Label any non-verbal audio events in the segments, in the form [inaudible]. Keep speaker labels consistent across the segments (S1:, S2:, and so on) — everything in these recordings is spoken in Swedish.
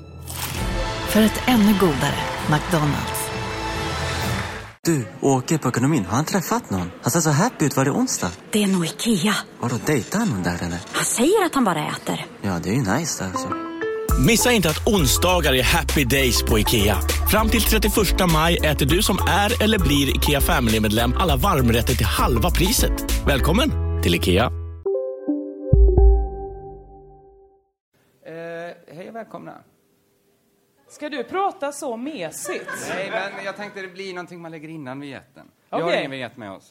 S1: För ett ännu godare McDonalds.
S2: Du, åker på ekonomin. Har han träffat någon? Han ser så happy ut. Var det onsdag?
S3: Det är nog Ikea.
S2: Har du dejtar han någon där eller?
S3: Han säger att han bara äter.
S2: Ja, det är ju nice alltså.
S4: Missa inte att onsdagar är happy days på IKEA. Fram till 31 maj äter du som är eller blir IKEA Family-medlem alla varmrätter till halva priset. Välkommen till IKEA.
S5: Eh, hej och välkomna.
S6: Ska du prata så mesigt?
S5: Nej, men jag tänkte det blir någonting man lägger innan vignetten. Vi har
S6: Okej.
S5: ingen vignett med oss.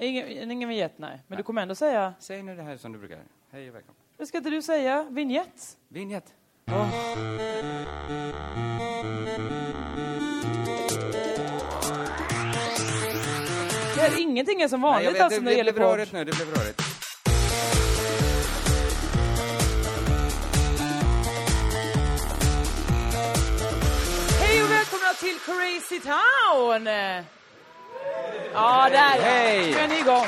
S6: Ingen, ingen vignett, nej. Men du kommer ändå säga...
S5: Säg nu det här som du brukar. Hej och välkomna.
S6: Men Ska inte du säga vignett?
S5: Vignett.
S6: Det här, ingenting är som
S5: Nej, jag
S6: vanligt
S5: vet,
S6: alltså när det gäller
S5: blev rörigt
S6: podd.
S5: nu, det blev rörigt.
S6: Hej och välkomna till Crazy Town! Ja, där
S5: Hej.
S6: Nu är ni igång.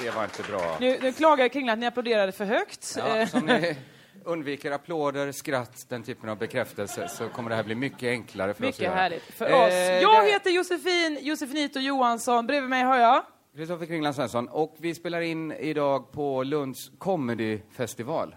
S5: Det var inte bra.
S6: Nu, nu klagar Kringlan att ni applåderade för högt.
S5: Ja,
S6: Eh,
S5: som
S6: [laughs]
S5: ni undviker applåder, skratt, den typen av bekräftelse så kommer det här bli mycket enklare för oss
S6: Mycket
S5: att
S6: härligt för
S5: Eh,
S6: oss. Jag
S5: det-
S6: heter Josefin Josefinito Johansson. Bredvid mig har jag...
S5: Kristoffer Kringland Svensson och vi spelar in idag på Lunds comedyfestival.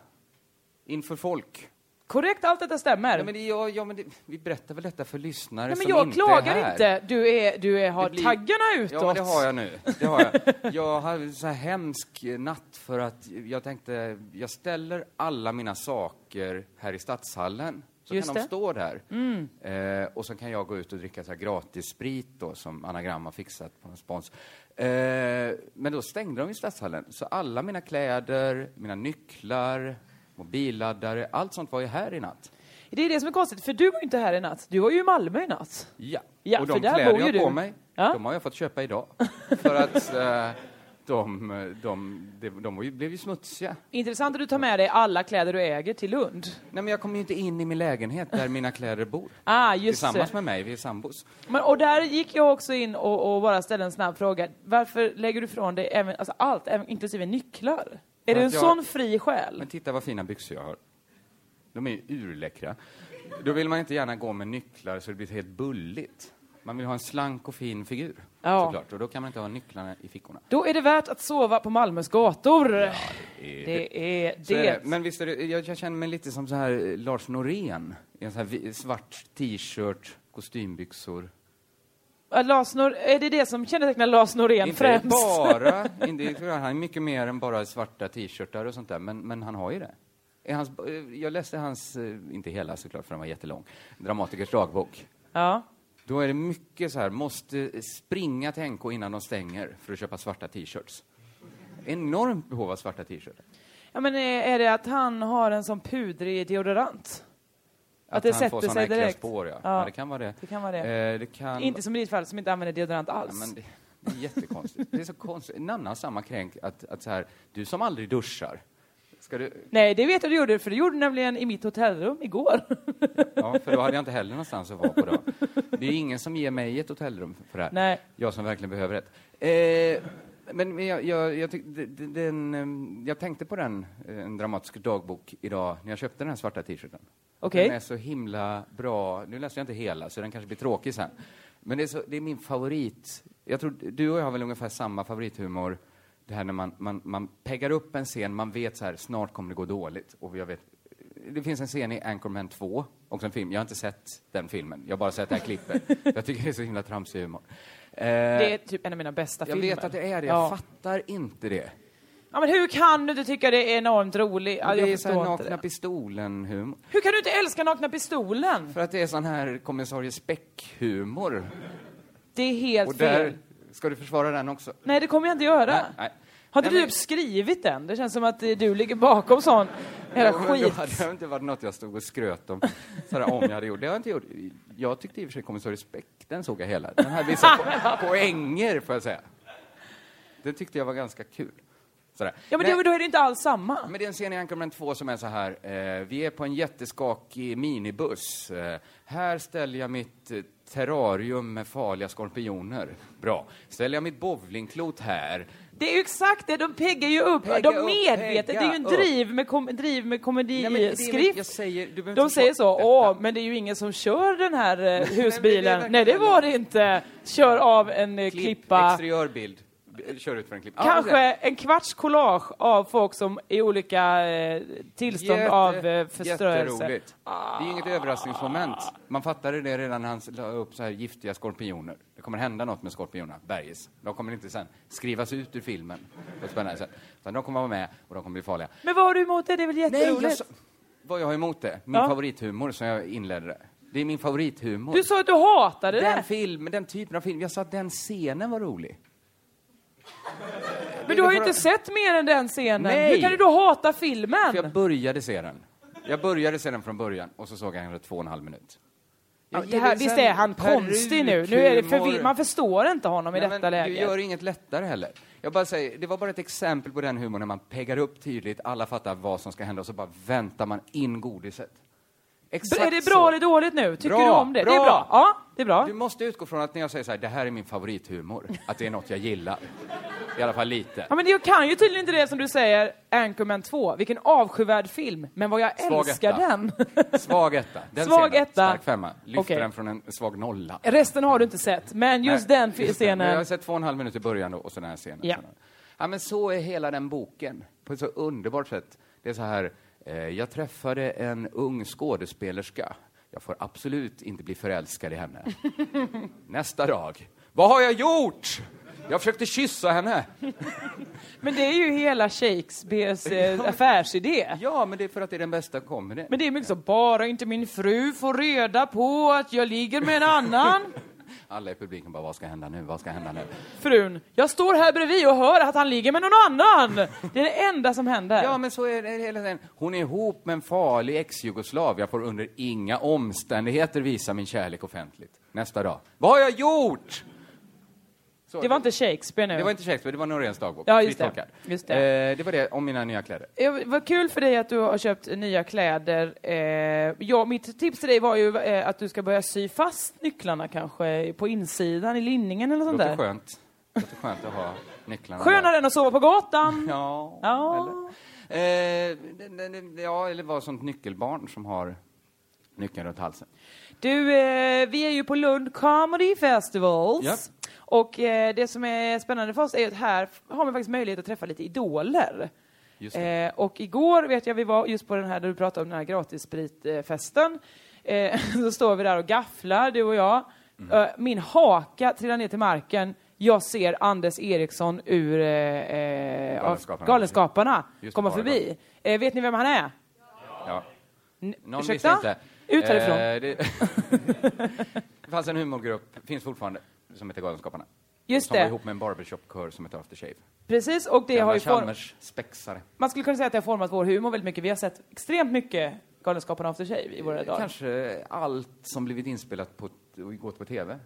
S5: Inför folk.
S6: Korrekt, allt detta stämmer.
S5: Ja, men det, ja, ja, men det, vi berättar väl detta för lyssnare
S6: Nej, men
S5: som
S6: jag
S5: inte är
S6: klagar
S5: här.
S6: inte. Du, är, du är, har
S5: Det blir-
S6: taggarna utåt.
S5: Ja, men det har jag nu. Det har jag.
S6: [laughs]
S5: jag hade en så här hemsk natt för att jag tänkte, jag ställer alla mina saker här i Stadshallen. Så
S6: Just
S5: kan
S6: det. Mm.
S5: de stå där. Eh, och så kan jag gå ut och dricka så här gratis sprit då, som Anagram har fixat på någon spons. Eh, men då stängde de ju Stadshallen. Så alla mina kläder, mina nycklar, mobilladdare, allt sånt var ju här i natt.
S6: Det är det som är konstigt, för du var ju inte här i natt. Du var ju i Malmö i natt.
S5: Ja,
S6: Ja,
S5: och de
S6: för där
S5: kläder
S6: bor ju
S5: jag
S6: du.
S5: på mig,
S6: Ja.
S5: de har jag fått köpa idag. För att
S6: [laughs]
S5: eh, de, de, de, de var ju, blev ju smutsiga.
S6: Intressant att du tar med dig alla kläder du äger till Lund.
S5: Nej, men jag kommer ju inte in i min lägenhet där mina kläder bor.
S6: Ah, just
S5: Tillsammans
S6: det.
S5: med mig, vi är sambos.
S6: Men, och där gick jag också in och, och bara ställde en snabb fråga. Varför lägger du ifrån dig även, alltså allt, även, inklusive nycklar? Är du en
S5: att jag-
S6: sån fri själ?
S5: Men titta vad fina byxor jag har. De är ju urläckra. Då vill man inte gärna gå med nycklar så det blir helt bulligt. Man vill ha en slank och fin figur,
S6: Ja.
S5: såklart. Och då kan man inte ha nycklarna i fickorna.
S6: Då är det värt att sova på Malmös gator. det är
S5: Så är
S6: det.
S5: det. Eh, Men visst är det, jag, jag känner mig lite som så här eh, Lars Norén. I en så här vi- svart t-shirt, kostymbyxor.
S6: Ja, Lars Nor- är det det som kännetecknar Lars Norén
S5: Inte
S6: främst?
S5: bara, inte, jag tror han är mycket mer än bara svarta t-shirtar och sånt där, men, men han har ju det. Är hans, eh, jag läste hans, eh, inte hela såklart för den var jättelång, Dramatikers dagbok.
S6: [laughs] ja.
S5: Då är det mycket så här, måste springa till NK innan de stänger för att köpa svarta t-shirts. Enormt behov av svarta t-shirts.
S6: ja, men är, är det att han har en sån pudrig deodorant? Att, det
S5: han får
S6: sätter
S5: såna
S6: sig
S5: äckliga
S6: direkt?
S5: Spår, ja.
S6: Ja,
S5: Ja, det kan vara det.
S6: det kan vara det.
S5: Eh, det kan...
S6: Inte som i ditt fall som inte använder deodorant alls.
S5: Ja, men det, [laughs] det är jättekonstigt. Det är så konstigt. Nanna har samma kränk att, att så här, du som aldrig duschar, ska du...
S6: Nej, det vet jag du gjorde, för det gjorde du nämligen i mitt hotellrum igår.
S5: Eh, Ja, för då hade jag inte heller någonstans att vara på då. Det är ingen som ger mig ett hotellrum för det här.
S6: Nej.
S5: Jag som verkligen behöver ett. Eh, men men jag, jag, jag, tyck, d- d- den, ehm, jag tänkte på den, eh, en dramatisk dagbok, idag när jag köpte den här svarta t-shirten.
S6: Okej.
S5: Den är så himla bra. Nu läste jag inte hela, så den kanske blir tråkig sen. Men det är, så, det är min favorit. Jag tror du och jag har väl ungefär samma favorithumor. Det här när man, man, man peggar upp en scen, man vet så här, snart kommer det gå dåligt. Och jag vet, det finns en scen i Anchorman 2, också en film. Jag har inte sett den filmen, jag har bara sett det här
S6: [laughs]
S5: klippet. jag tycker det är så himla tramsig humor. Eh,
S6: [laughs] Det är typ en av mina bästa
S5: jag
S6: filmer.
S5: vet att det är det, jag
S6: Ja.
S5: fattar inte det.
S6: ja, men hur kan du inte tycka det är enormt roligt? Ja,
S5: det
S6: jag
S5: är så här
S6: förstår inte
S5: nakna
S6: det.
S5: pistolen-humor.
S6: Hur kan du inte älska Nakna Pistolen?
S5: För att det är sån här kommissarie Speck-humor.
S6: Det är helt
S5: Och
S6: fel.
S5: där, ska du försvara den också?
S6: Nej, det kommer jag inte göra.
S5: Nej, nej.
S6: Har inte
S5: Nej,
S6: du
S5: men-
S6: skrivit den? Det känns som att eh, du ligger bakom sån jävla
S5: Jo, men Då
S6: skit.
S5: hade det inte varit något jag stod och skröt om, sådär, om jag hade gjort. Det har jag inte gjort. Jag tyckte i och för sig Kommissar Respekt, den såg jag hela. Den hade vissa
S6: [laughs]
S5: po- poänger, får jag säga. Det tyckte jag var ganska kul. Sådär.
S6: Ja men
S5: Nej.
S6: det, då är det inte alls samma.
S5: Men det är en scen i Anchorman 2 som är så här. Eh, vi är på en jätteskakig minibuss. Eh, här ställer jag mitt eh, terrarium med farliga skorpioner. Bra. Ställer jag mitt bowlingklot här.
S6: Det är ju exakt det, de peggar ju upp.
S5: Pegga
S6: de
S5: upp,
S6: medvetet, det är ju en
S5: pegga
S6: driv med, kom, driv med
S5: Nej, men det är-
S6: komediskrift.
S5: jag säger- du behöver
S6: de
S5: inte
S6: säger så,
S5: förklara
S6: åh
S5: detta."
S6: men det är ju ingen som kör den här eh,
S5: men det är
S6: husbilen.
S5: verkligen-
S6: Nej det var det inte. Kör av en eh, klippa.
S5: Exteriörbild. B- Kör ut för en klippa. Ja,
S6: Kanske en kvarts collage av folk som i olika eh, tillstånd
S5: Jätte-
S6: av eh, förstörelse. Ah.
S5: Jätteroligt. Det är ju inget överraskningsmoment. Man fattade det redan när han la upp så här giftiga skorpioner. Det kommer hända något med skorpionerna, Bergis. De kommer inte sen skrivas ut ur filmen på ett spännande sätt. Utan de kommer vara med och de kommer bli farliga.
S6: Men vad har du emot det? Det är väl jätteroligt?
S5: jag sa- vad jag har emot det? Min
S6: Ja.
S5: favorithumor som jag inledde det. Det är min favorithumor.
S6: Du sa att du hatade
S5: den
S6: det.
S5: film, den typen av film. Jag sa att den scenen var rolig.
S6: Men du har ju inte sett mer än den scenen.
S5: Nej.
S6: Hur kan du då hata
S5: För jag
S6: filmen?
S5: började se den. Jag började se den från början och så såg jag den i två och en halv minut.
S6: Ja,
S5: Jag
S6: det
S5: gillar
S6: här,
S5: ju
S6: visst
S5: sen
S6: är han konstig nu? nu är det
S5: perukhumor.
S6: förvi- man förstår inte honom i
S5: Nej,
S6: detta
S5: men Du gör
S6: läge.
S5: inget lättare heller. Jag bara säger, det var bara ett exempel på den humorn när man peggar upp tydligt, alla fattar vad som ska hända och så bara väntar man in godiset.
S6: B-
S5: Exakt
S6: Är det
S5: så.
S6: bra eller dåligt nu? Tycker
S5: Bra,
S6: du om det? Det är bra.
S5: bra.
S6: Ja, det är bra.
S5: Du måste utgå från att när jag säger så här, det här är min favorithumor, att det är något jag gillar. I alla fall
S6: [laughs]
S5: lite.
S6: Ja, men jag kan ju tydligen inte det som du säger, Anchorman 2. Vilken avskyvärd film. Men vad jag
S5: Svag
S6: älskar
S5: etta.
S6: den.
S5: [laughs] Svag etta. Den
S6: Svag
S5: scenen.
S6: etta.
S5: Stark femma. Lyfter
S6: Okej.
S5: den från en svag nolla.
S6: Resten har du inte sett, men just
S5: Nej,
S6: den fi-
S5: just det. Men Jag har
S6: scenen.
S5: sett två och en halv minut i början då, och så den här scenen.
S6: Ja.
S5: ja, men så är hela den boken, på ett så underbart sätt. Det är så här, eh, jag träffade en ung skådespelerska. Jag får absolut inte bli förälskad i
S6: [laughs]
S5: henne. Nästa dag. Vad har jag gjort? Jag försökte kyssa henne.
S6: Men det är ju hela
S5: [laughs]
S6: Shakespeares eh, affärsidé.
S5: Ja, men det är för att det är den bästa comedyn.
S6: Men det är mycket så, bara inte min fru får reda på att jag ligger med
S5: [laughs]
S6: en annan.
S5: Alla i publiken bara, vad ska hända nu? Vad ska hända nu?
S6: Frun, jag står här bredvid och hör att han ligger med någon annan. Det är det enda som händer.
S5: Ja, men så är det hela tiden. Hon är ihop med en farlig ex-jugoslav. Jag får under inga omständigheter visa min kärlek offentligt. Nästa dag. Vad har jag gjort? Så,
S6: Det var inte Shakespeare nu.
S5: det var inte Shakespeare, det var Noréns dagbok.
S6: Ja, just
S5: Fritt
S6: det.
S5: tolkat.
S6: Just det.
S5: Eh, det var det om mina nya kläder.
S6: Eh, Vad kul för dig att du har köpt nya kläder. Eh, ja, mitt tips till dig var ju eh, att du ska börja sy fast nycklarna kanske på insidan i linningen eller sånt
S5: Låter
S6: där.
S5: skönt. Låter skönt att ha nycklarna där.
S6: Skönare än att sova på gatan.
S5: Ja,
S6: Ja.
S5: eller? Eh, det- det- det- ja, eller vara sånt nyckelbarn som har nyckeln runt halsen.
S6: Du, eh, vi är ju på Lund Comedy Festivals.
S5: Japp.
S6: Och eh, det som är spännande för oss är att här f- har man faktiskt möjlighet att träffa lite idoler.
S5: Just det.
S6: Eh, och igår vet jag vi var just på den här där du pratade om den här gratisspritfesten. Eh, [laughs] så står vi där och gafflar, du och jag.
S5: Mm.
S6: Eh, min haka trillar ner till marken. Jag ser Anders Eriksson ur eh, eh,
S5: Galenskaparna.
S6: Galenskaparna
S5: Just
S6: komma
S5: bara
S6: förbi. Eh, vet ni vem han är?
S5: Ja.
S6: N-
S5: Någon
S6: ursäkta?
S5: visste inte.
S6: Ut härifrån.
S5: Eh, det...
S6: [laughs]
S5: det fanns en humorgrupp, finns fortfarande, som heter Galenskaparna.
S6: Just
S5: som
S6: det.
S5: var ihop med en barbershop-kör som heter Aftershave.
S6: Precis, och det har
S5: Gamla
S6: ju form-
S5: Chalmers spexare.
S6: Man skulle kunna säga att det har format vår humor väldigt mycket. Vi har sett extremt mycket Galenskaparna After Shave i våra dagar.
S5: Kanske allt som blivit inspelat på, t- och gått på TV.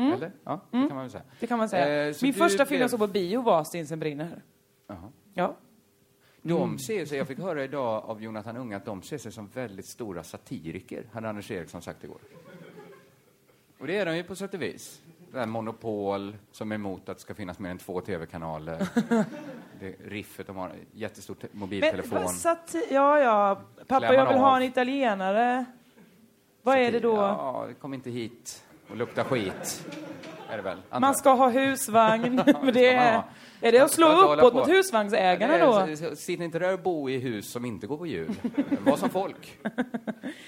S5: Eller? Ja, det kan man väl säga.
S6: Mm. Det kan man säga.
S5: Eh, så
S6: Min
S5: du
S6: första film
S5: blev-
S6: jag såg på bio var Stinsen brinner.
S5: Jaha.
S6: Ja. Mm.
S5: De ser sig, jag fick höra idag av Jonathan Unge att de ser sig som väldigt stora satiriker, hade Anders Eriksson sagt igår. Och det är de ju på sätt och vis. Det här monopol som är emot att det ska finnas mer än två tv-kanaler.
S6: [laughs]
S5: det riffet de har, jättestor te-
S6: Men,
S5: mobiltelefon.
S6: vad satt, ja, ja. Pappa,
S5: Klämmer
S6: jag vill
S5: av.
S6: ha en italienare. Vad är det då?
S5: Ja, kom inte hit och lukta skit. Är det väl? antar
S6: Man
S5: jag.
S6: ska
S5: [laughs]
S6: ha husvagn. Men det
S5: man
S6: är,
S5: ha.
S6: är det
S5: Man
S6: att slå
S5: ska inte hålla
S6: uppåt
S5: på.
S6: mot husvagnsägarna
S5: Nej,
S6: då?
S5: s- s- Sitt inte där och bo i hus som inte går på jul. Var som folk.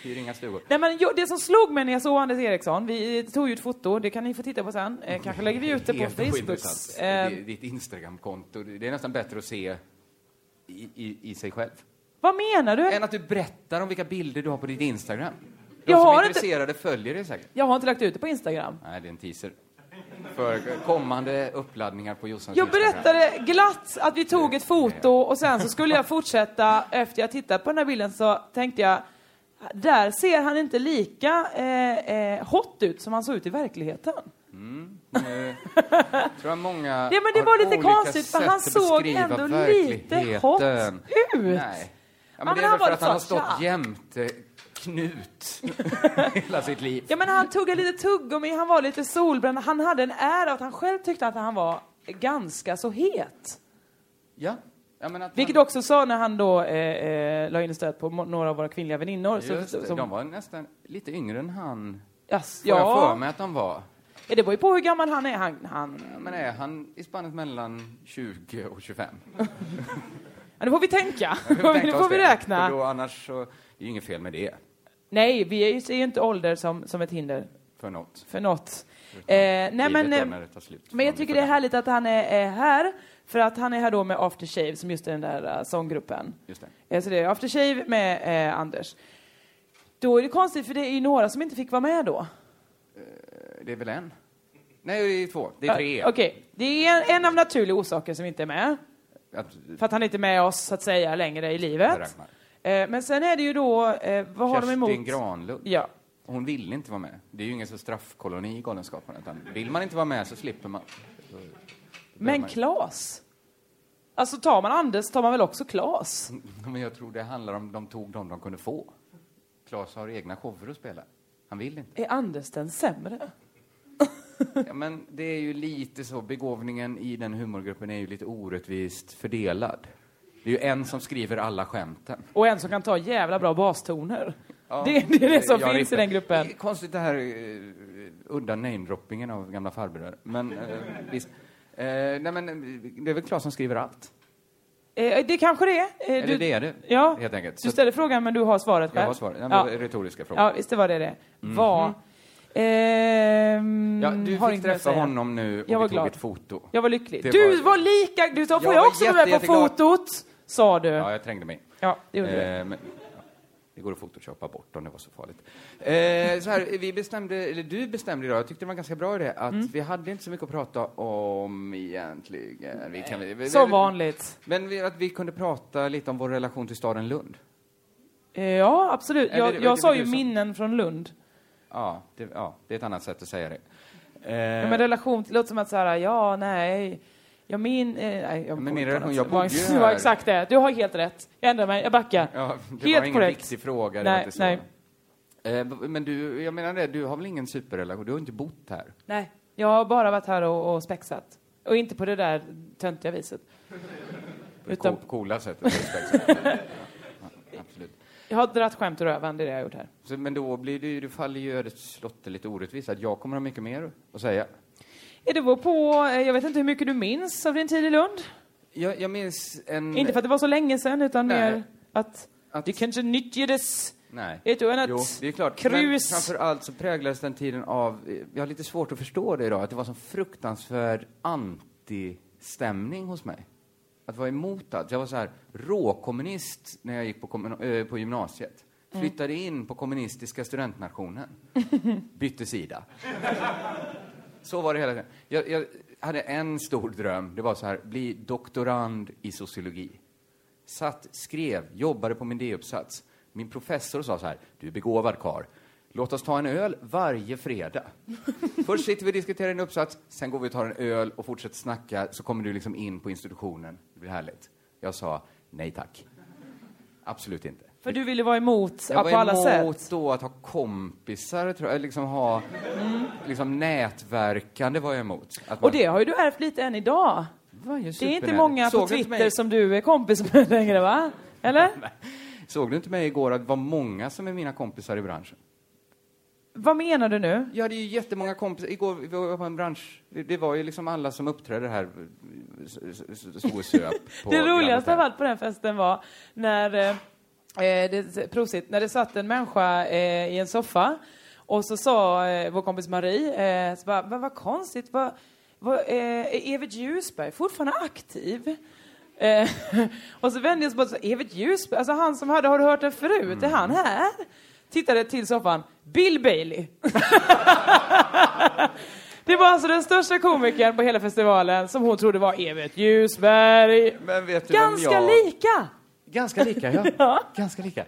S5: Hyr inga stugor.
S6: Nej, men jag, det som slog mig när jag såg Anders Eriksson, vi tog ju ett foto, det kan ni få titta på sen. Eh, kanske lägger vi ut det på
S5: Helt
S6: Facebook.
S5: ointressant.
S6: Eh,
S5: Det- Ditt Instagramkonto, det det är nästan bättre att se i, i, i sig själv.
S6: vad menar du?
S5: Än att du berättar om vilka bilder du har på ditt Instagram. De
S6: Jag
S5: som
S6: har
S5: är
S6: inte-
S5: intresserade följer dig säkert.
S6: Jag har inte lagt ut det på Instagram.
S5: Nej, det är en teaser. för kommande uppladdningar på Jossans
S6: Jag
S5: Instagram.
S6: berättade glatt att vi tog ett foto och sen så skulle jag fortsätta efter jag tittat på den här bilden så tänkte jag där ser han inte lika eh, eh, hot ut som han såg ut i verkligheten.
S5: Nu tror jag många
S6: Ja, men det
S5: har
S6: var lite
S5: olika
S6: konstigt, för
S5: sätt
S6: han
S5: att
S6: såg
S5: beskriva
S6: ändå
S5: verkligheten.
S6: lite hot ut.
S5: Nej. Ja, men
S6: men
S5: det är väl
S6: han var
S5: för att han har
S6: så
S5: stått
S6: tjack.
S5: jämte Knut [laughs] hela sitt liv.
S6: Ja men han tuggade lite tuggummi, han var lite solbränd, han hade en ära av att han själv tyckte att han var ganska så het.
S5: Ja. Ja, men att
S6: Vilket
S5: han,
S6: också sa när han då eh, eh, la in ett stöd på mo- några av våra kvinnliga väninnor. Så,
S5: just, det,
S6: Alltså, som,
S5: De var nästan lite yngre än han,
S6: Jas,
S5: får jag för
S6: ja,
S5: mig att de var.
S6: Ja, det var ju på hur gammal han är. Han, han,
S5: Ja, Men är han i spannet mellan 20 och
S6: [laughs]
S5: 25?
S6: ja, nu får vi tänka.
S5: Vi får tänka
S6: nu
S5: oss
S6: får vi
S5: det,
S6: räkna.
S5: För då, annars så, det är ju inget fel med det,
S6: Nej, vi är ju- ser ju inte ålder som, som ett hinder
S5: för något.
S6: för något. Eh, nej, men,
S5: Mm. Livet då
S6: eh,
S5: när det tar slut.
S6: men jag tycker det är härligt att han är, är här. För att han är här då med After Shave, som just är den där eh, sånggruppen.
S5: Just det.
S6: Eh, så det är After Shave med eh, Anders. Då är det konstigt, för det är ju några som inte fick vara med då.
S5: Det är väl en? Nej, det är två. Det är tre.
S6: Ja, Okej, det är en, en av naturliga orsaker som inte är med.
S5: Att,
S6: För att han inte är med oss, så att säga, längre i livet.
S5: Ragnar.
S6: Eh, men sen är det ju då, eh, vad har de
S5: Kerstin
S6: emot...
S5: Granlund.
S6: Ja.
S5: Hon vill inte vara med. Det är ju ingen så straffkoloni i Galenskaparna. Utan vill man inte vara med så slipper man. [laughs]
S6: Men Klas? Alltså tar man Anders tar man väl också Klas?
S5: Men jag tror det handlar om de tog de de kunde få. Claes har egna shower att spela. Han vill inte.
S6: Är Anders den sämre?
S5: Ja, men det är ju lite så. Begåvningen i den humorgruppen är ju lite orättvist fördelad. Det är ju en som skriver alla skämten.
S6: Och en som kan ta jävla bra bastoner. Det, det är det som
S5: Jag
S6: finns i
S5: ripper.
S6: den gruppen.
S5: Det är Konstigt det här uh, udda namedroppingen av gamla farbröder. Men eh, visst. Eh, nej, men eh, det är väl Claes som skriver allt.
S6: Eh, det kanske det är. Eh,
S5: Eller det är det,
S6: Ja,
S5: helt enkelt.
S6: Du
S5: Så-
S6: ställer frågan men du har svaret själv.
S5: Jag har svaret. Nej, men Retoriska frågor. Mhm.
S6: Ja, visst det var det det var. Ehm,
S5: Ja, du
S6: har
S5: fick
S6: inte mer att
S5: träffa
S6: säga.
S5: honom nu och
S6: Jag
S5: vi
S6: var
S5: tog
S6: glad.
S5: ett foto.
S6: Jag var lycklig.
S5: Det
S6: du var,
S5: var-
S6: lika... Du sa, får
S5: Jag
S6: jag
S5: var
S6: också vara med
S5: jätte-
S6: på
S5: jätteglad."
S6: fotot? Sa du.
S5: Ja,
S6: Ja,
S5: jag trängde mig.
S6: det gjorde du.
S5: Eh, men, ja. Det går att photoshoppa bort om det var så farligt. Eh, så här, vi bestämde, eller du bestämde idag, jag tyckte det var en ganska bra idé,
S6: Mm.
S5: att vi hade inte så mycket att prata om egentligen. Vi kan, vi, vi-
S6: Som vanligt.
S5: Men vi, att vi kunde prata lite om vår relation till staden Lund.
S6: Eh, Ja, absolut.
S5: Eller
S6: Jag,
S5: det- det
S6: jag sa
S5: var
S6: ju
S5: du som-
S6: minnen från Lund.
S5: Ja, det, ja, det är ett annat sätt att säga det. Eh,
S6: Ja, men relation till, låter som att så här, ja, nej, jag min... Eh, nej, jag
S5: min
S6: kommer inte på
S5: relation,
S6: något.
S5: jag
S6: Det var-
S5: bodde ju
S6: [laughs] Det var
S5: här.
S6: exakt det. Du har helt rätt. Jag ändrar mig, jag backar.
S5: ja, det
S6: helt
S5: var ingen
S6: korrekt.
S5: viktig fråga, det
S6: Nej,
S5: var inte så.
S6: nej.
S5: Eh, b- men du, jag menar det, du har väl ingen superrelation? Du har inte bott här?
S6: Nej, jag har bara varit här och, och spexat. Och inte på det där töntiga viset.
S5: På det
S6: Utan-
S5: co- coola sättet. att respekt. ja,
S6: [laughs]
S5: absolut.
S6: Jag har dragit skämt ur röven, det är det jag har gjort här.
S5: Så, men då blir det ju, du faller ju ödets lotter lite orättvist, att jag kommer ha mycket mer att säga.
S6: Eh, Det var på, eh, jag vet inte hur mycket du minns av din tid i Lund.
S5: Jag, jag minns en...
S6: Inte för att det var så länge sedan, utan
S5: Mm. Nej.
S6: mer att,
S5: Att-
S6: det kanske nyttjades
S5: Nej.
S6: ett och annat
S5: Jo, det är klart. Men
S6: krus.
S5: framförallt så präglades den tiden av, eh, jag har lite svårt att förstå det idag, att det var en sån fruktansvärd antistämning hos mig. Att vara emot allt. Jag var så här råkommunist när jag gick på, kommun- eh, på gymnasiet. Flyttade in på kommunistiska studentnationen. Bytte sida. Så var det hela tiden. Jag, jag hade en stor dröm. Det var så här, bli doktorand i sociologi. Satt, skrev, jobbade på min D-uppsats. Min professor sa så här, du är begåvad karl. Låt oss ta en öl varje
S6: [laughs]
S5: fredag. Först sitter vi och diskuterar en uppsats, sen går vi och tar en öl och fortsätter snacka, så kommer du liksom in på institutionen. Det blir härligt. Jag sa, nej tack. Absolut inte.
S6: För du ville vara emot
S5: Jag
S6: på alla
S5: var emot
S6: sätt.
S5: då att ha kompisar, tror jag. Liksom ha, liksom nätverkande var jag emot. Att
S6: Mm. Och det har ju du ärvt lite än idag.
S5: var ju
S6: Det är inte
S5: supernära.
S6: många på
S5: Såg du inte
S6: Twitter
S5: mig-
S6: som du är kompis med [laughs] längre, va? Eller?
S5: Såg du inte mig igår att det var många som är mina kompisar i branschen?
S6: Vad menar du nu?
S5: Jag hade ju jättemånga kompisar. Igår vi var på en bransch... det- Det var ju liksom alla som uppträdde här s- s- s-
S6: [laughs]
S5: stod och söp på
S6: det
S5: Grand
S6: roligaste
S5: Hotel.
S6: av allt på den festen var när, eh, eh, det, prosit, när det satt en människa eh, i en soffa och så sa eh, vår kompis Marie, eh, så bara, "Men vad konstigt, vad, vad, eh, är Evert Ljusberg fortfarande aktiv? Eh, [laughs] och så vände jag mig och sa, Evert Ljusberg, alltså han som hade Har du hört det förut? Är han
S5: Mm.
S6: här? Tittade till soffan, Bill Bailey. Det var alltså den största komikern på hela festivalen som hon trodde var Evert Ljusberg.
S5: Men vet du
S6: Ganska
S5: vem jag...
S6: lika!
S5: Ganska lika, ja.
S6: [laughs] Ja.
S5: Ganska lika.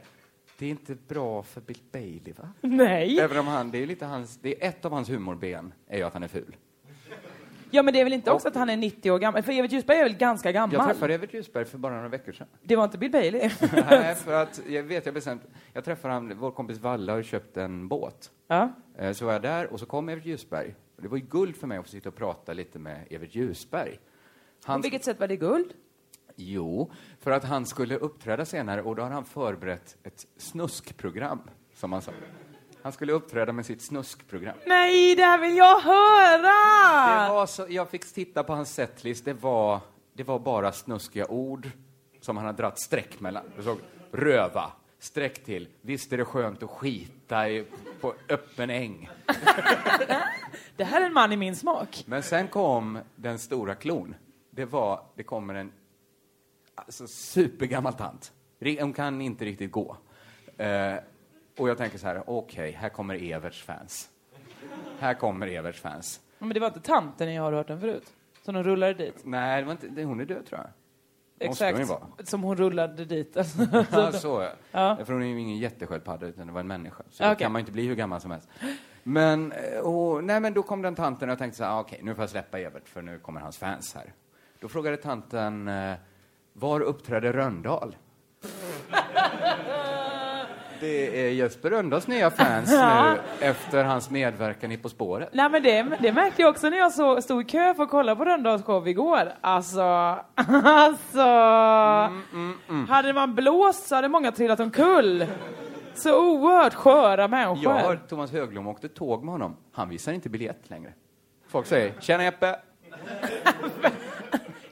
S5: Det är inte bra för Bill Bailey, va?
S6: [laughs] Nej.
S5: Även om han, det är lite hans, det är ett av hans humorben, är ju att han är ful.
S6: Ja men det är väl inte också att han är 90 år gammal? För Evert Ljusberg är väl ganska gammal?
S5: Jag träffade Evert Ljusberg för bara några veckor sedan. [laughs]
S6: Det var inte Bill Bailey?
S5: Nej, för att jag vet, jag bestämt, jag träffade han, vår kompis Valla har köpt en båt.
S6: [laughs] ja.
S5: Eh, Så var jag där och så kom Evert Ljusberg. Och Det var ju guld för mig att få sitta och prata lite med Evert Ljusberg.
S6: På
S5: Han,
S6: vilket sätt var det guld?
S5: Jo, för att han skulle uppträda senare och då har han förberett ett snuskprogram, som han sa. Han skulle uppträda med sitt snuskprogram.
S6: Nej, det här vill jag höra!
S5: Det var så, jag fick titta på hans setlist. Det var, det var bara snuskiga ord som han hade dratt streck mellan. Du såg röva, streck till, visst är det skönt att skita i, på öppen äng.
S6: Det här är en man i min smak.
S5: Men sen kom den stora klon. Det var, det kommer en alltså, supergammal tant. Ri- Hon kan inte riktigt gå. Eh, och jag tänker så här, okej, här kommer Everts fans. Här kommer Everts fans.
S6: Men det var inte tanten jag har hört den förut. Som de rullade dit.
S5: Nej, det var inte, det- hon är död tror jag. Måste hon ju
S6: Exakt.
S5: vara.
S6: Som hon
S5: [laughs]
S6: rullade dit. Alltså, [laughs]
S5: Ja, så ja.
S6: Ja.
S5: För hon är ju ingen jättesköldpadda utan det var en människa. Så
S6: Ja,
S5: då
S6: okej.
S5: kan man ju inte bli hur gammal som helst. Men, eh, och, nej, men då kom den tanten och jag tänkte så här, ah, okej, nu får jag släppa Evert för nu kommer hans fans här. Då frågade tanten, eh, var uppträdde
S6: [laughs]
S5: Röndahl? Det är Jesper Röndahls nya fans nu efter hans medverkan i På spåret.
S6: Nej men det, det märkte jag också när jag så, stod i kö för att kolla på Rönndahls show igår. Alltså, [laughs] alltså.
S5: Mm,
S6: Hade man blåst så hade många trillat omkull. Så oerhört sköra människor.
S5: Jag har Thomas Höglund åkte tåg med honom. Han visar inte biljett längre. Folk säger, tjena Jeppe,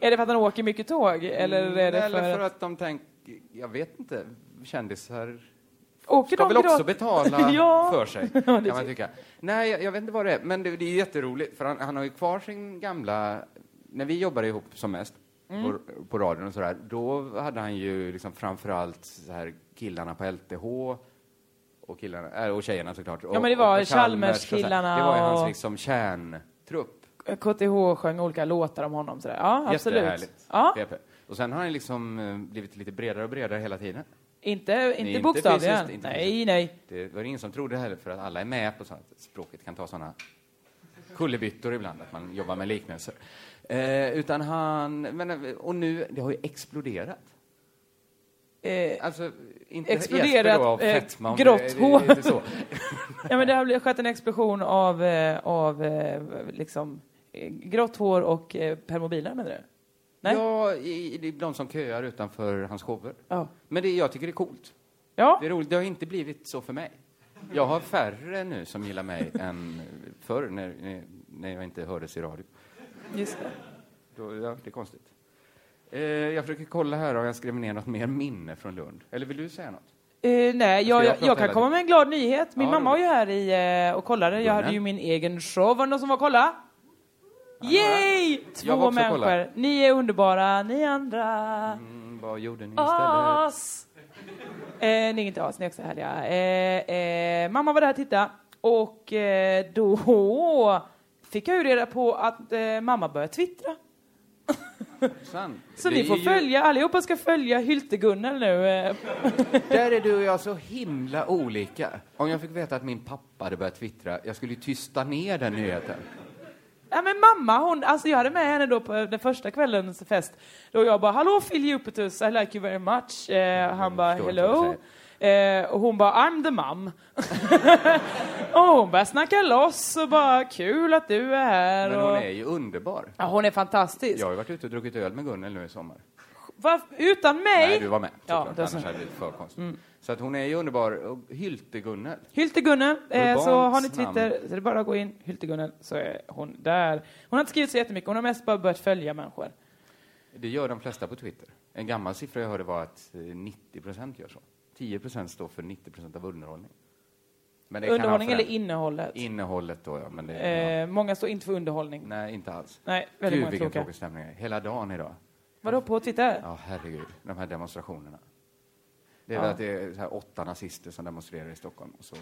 S6: Är det för att han åker mycket tåg? Eller är det för,
S5: Mm, Eller för
S6: att...
S5: att de tänker, jag vet inte, kändisar
S6: Åker
S5: ska
S6: de
S5: väl också
S6: gratis?
S5: betala
S6: [laughs] ja.
S5: för sig,
S6: Ja,
S5: kan
S6: det
S5: man
S6: tycker-
S5: tycka. Nej, jag, jag vet inte vad det är, men det, det är jätteroligt, för han, han har ju kvar sin gamla, när vi jobbade ihop som mest,
S6: Mm.
S5: på, på radion och sådär, då hade han ju liksom framförallt så här killarna på LTH, och, killarna, äh, och tjejerna såklart. och-
S6: men det var
S5: och på Chalmers och så här.
S6: Chalmers-killarna
S5: Det var ju
S6: och-
S5: hans liksom kärntrupp.
S6: KTH sjöng olika låtar om honom. Sådär. Ja, absolut.
S5: Jättehärligt.
S6: Ja,
S5: PP. Och sen har han liksom eh, blivit lite bredare och bredare hela tiden.
S6: inte, inte
S5: inte
S6: bokstavligen.
S5: fysiskt, inte
S6: nej,
S5: fysiskt.
S6: nej.
S5: Det var det ingen som trodde heller, för att alla är med på sånt. Språket kan ta såna kullerbyttor ibland, att man jobbar med liknelser. Eh, utan han... Men, eh, och nu, det har ju exploderat.
S6: Eh,
S5: Alltså, inte
S6: Exploderat,
S5: Jesper då, av
S6: eh,
S5: fetma. om
S6: grått
S5: det- det-
S6: hår.
S5: det är inte så.
S6: [laughs] ja, men det har blivit- skett en explosion av, eh, av eh, liksom, eh, grått hår och eh, permobiler, menar du? Nej? Ja.
S5: Ja, i, i, det är de som köar utanför hans shower.
S6: Ja.
S5: Men det, jag tycker det är coolt.
S6: ja.
S5: Det är roligt. Det har inte blivit så för mig. Jag har färre nu som gillar mig än förr, när, när- när jag inte hördes i radio.
S6: just det.
S5: Då, ja, det är konstigt. Eh, jag försöker kolla här om jag skrev ner något mer minne från Lund. Eller vill du säga något?
S6: Eh, nej,
S5: Ska jag
S6: jag, jag,
S5: prata
S6: jag kan
S5: hela
S6: komma
S5: tiden?
S6: med en glad nyhet. Min
S5: Ja,
S6: mamma var
S5: roligt.
S6: ju här i, eh, och kollade. Jag
S5: Gunnar.
S6: hade ju min egen show. Var det någon som var och kolla? Yay!
S5: Jag var
S6: Två
S5: också och kollade.
S6: människor. Ni är underbara, ni andra.
S5: Mm, vad gjorde ni istället?
S6: As! Eh, nej, inte as, ni är också härliga. Eh, eh, mamma var där och tittade och eh, då fick jag ju reda på att eh, mamma började twittra.
S5: Susanne,
S6: Så
S5: det
S6: ni
S5: är
S6: får
S5: ju-
S6: följa, allihopa ska följa Hylte-Gunnel nu. Eh,
S5: Där är du och jag så himla olika. Om jag fick veta att min pappa hade börjat twittra, jag skulle ju tysta ner den nyheten.
S6: Ja, men mamma, hon, alltså jag hade med henne då på den första kvällens fest. Då jag bara, hallå Phil Jupitus, I like you very much. Eh, han bara,
S5: Mm, förstår inte vad
S6: hello.
S5: du
S6: Eh, och hon bara, I'm the mom. [laughs] och hon började snacka loss och bara, kul att du är här.
S5: Men hon
S6: och...
S5: är ju underbar.
S6: Ja, hon är fantastisk.
S5: Jag har ju varit ute och druckit öl med Gunnel nu i sommar.
S6: Varf- utan mig?
S5: Nej, du var med
S6: Ja,
S5: såklart,
S6: det var
S5: annars
S6: så. Mm.
S5: hade det blivit för konstigt. Så att hon är ju underbar. Och Hylte-Gunnel.
S6: Hylte-Gunnel, eh,
S5: Urbant
S6: så har ni
S5: namn.
S6: Twitter så det är bara att gå in, Hylte-Gunnel, så är hon där. Hon har inte skrivit så jättemycket, hon har mest bara börjat följa människor.
S5: Det gör de flesta på Twitter. En gammal siffra jag hörde var att eh, 90 procent gör så. 10 procent står för 90 procent av underhållning. Men det kan
S6: Underhållning
S5: ha
S6: eller
S5: förändrat-
S6: innehållet?
S5: innehållet då, ja. Men det, ja.
S6: Eh, många står inte för underhållning.
S5: Nej, inte alls.
S6: Nej, väldigt
S5: Gud,
S6: många
S5: vilken
S6: tråkiga.
S5: tråkig stämning. Hela dagen idag.
S6: Vadå, på Twitter?
S5: Ja, herregud. De här demonstrationerna. Det är väl att det är så här åtta nazister som demonstrerar i Stockholm. Och så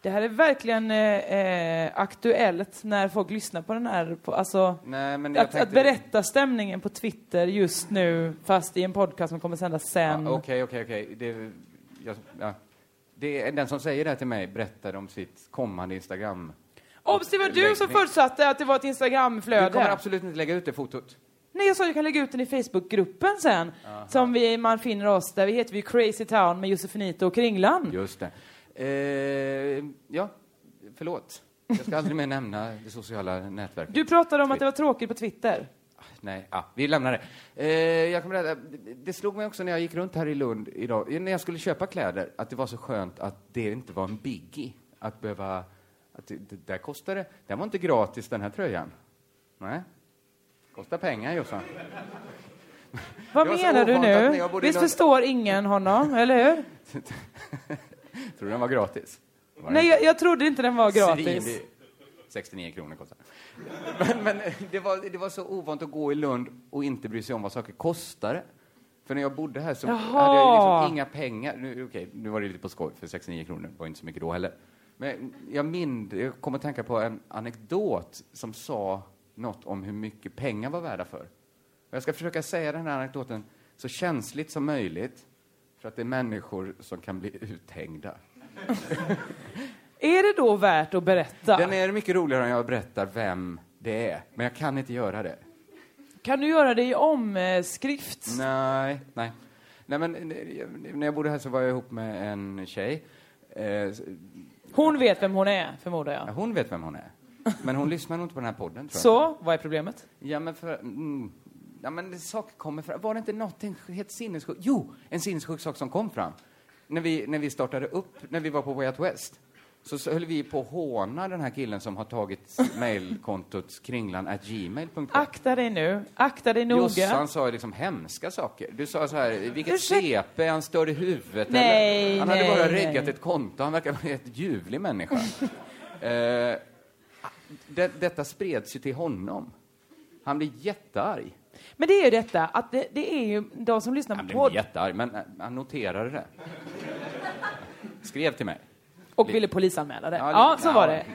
S6: Det här är verkligen eh, eh, aktuellt när folk lyssnar på den här. På, alltså,
S5: Nej, men jag
S6: att, att
S5: tänkte-
S6: berätta stämningen på Twitter just nu, fast i en podcast som kommer sändas sen.
S5: Ja, Okej, okej, okej. Det- jag- ja. Det är- Den som säger det här till mig berättar om sitt kommande Instagram.
S6: Obs, det var du som
S5: Läggning.
S6: förutsatte att det var ett
S5: Du kommer
S6: Instagramflöde.
S5: absolut inte lägga ut det fotot.
S6: Nej, jag sa att jag kan lägga ut den i Facebookgruppen sen. Som vi, man finner oss där. Vi heter ju Crazy Town med Josefinito och Kringland.
S5: Just det. Eh, ja, förlåt. Jag ska aldrig mer nämna det sociala nätverket.
S6: Du pratade om att det var tråkigt på Twitter.
S5: Nej, ah, vi lämnar det. Eh, jag kommer rädda, det slog mig också när jag gick runt här i Lund idag, när jag skulle köpa kläder, att det var så skönt att det inte var en biggie. Att behöva... Att det, det där kostade... Den var inte gratis, den här tröjan. Nej. Kostar pengar, Jossan. [laughs]
S6: Vad
S5: Det var så
S6: menar du
S5: ovant att när
S6: nu?
S5: jag bodde i
S6: Visst
S5: Lund-
S6: förstår ingen honom, eller hur?
S5: Tror du den var gratis? Var
S6: Nej,
S5: den
S6: jag, jag trodde inte den var gratis.
S5: Svindyr. 69 kronor kostar den. Men, men det, var, det var så ovant att gå i Lund och inte bry sig om vad saker kostar. För när jag bodde här så
S6: Jaha.
S5: hade jag ju liksom inga pengar. Nu, okej, nu var det lite på skoj, för 69 kronor var inte så mycket då heller. Men jag, mind, jag kom att tänka på en anekdot som sa något om hur mycket pengar var värda för. Jag ska försöka säga den här anekdoten så känsligt som möjligt, för att det är människor som kan bli uthängda.
S6: Är det då värt att berätta?
S5: Den är mycket roligare än jag berättar vem det är, men jag kan inte göra det.
S6: Kan du göra eh, det i omskrift?
S5: Nej, nej. nej men, eh, när jag bodde här så var jag ihop med en tjej. Eh,
S6: Hon vet vem hon är, förmodar jag.
S5: hon vet vem hon är, men hon lyssnar nog inte på den här podden. Tror jag.
S6: Så, vad är problemet?
S5: Ja, men för... Mm, ja, men saker kommer fram. Var det inte någonting helt sinnessjukt? Jo, en sinnessjuk sak som kom fram. När vi, när vi startade upp, när vi var på Way Out West, så, så höll vi på att håna den här killen som har tagit mejlkontot kringlan at gmail.com.
S6: Akta dig nu. Akta dig noga.
S5: Jossan sa ju liksom hemska saker. Du sa så här, vilket
S6: Ursäkta?
S5: CP, är han stör i huvudet.
S6: Nej,
S5: eller? Han hade
S6: nej,
S5: bara
S6: nej.
S5: reggat ett konto, han verkar vara en ljuvlig
S6: [laughs]
S5: människa. eh, det, detta spreds ju till honom. Han blev jättearg.
S6: Men det är ju detta, att det, det är ju de som lyssnar
S5: Han
S6: på
S5: blev inte
S6: podd
S5: jättearg, men eh, han noterade det. Skrev till mig.
S6: och ville polisanmäla det. Ja,
S5: Ja,
S6: så
S5: ja,
S6: var det.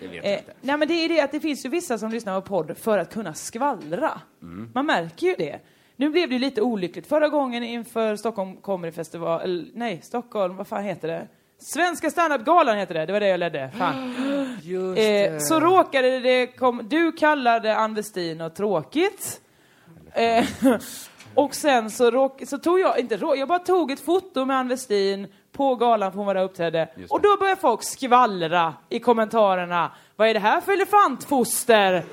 S5: Det vet jag
S6: Eh,
S5: inte.
S6: nej men det är det att det finns ju vissa som lyssnar på podd för att kunna skvallra.
S5: Mm.
S6: Man märker ju det. Nu blev det ju lite olyckligt. Förra gången inför Stockholm Comedyfestival, eller nej, Stockholm, vad fan heter det? Svenska standup-galan heter det, det var det jag ledde. Fan.
S5: [gasps]
S6: Eh, så råkade det kom, Du kallade Ann Westin och tråkigt. Eh, [laughs] och sen så, råk, så tog jag, inte rå, jag bara tog ett foto med Ann Westin på galan för hon var där och uppträdde.
S5: Just
S6: Och
S5: det.
S6: då började folk skvallra i kommentarerna. Vad är det här för elefantfoster?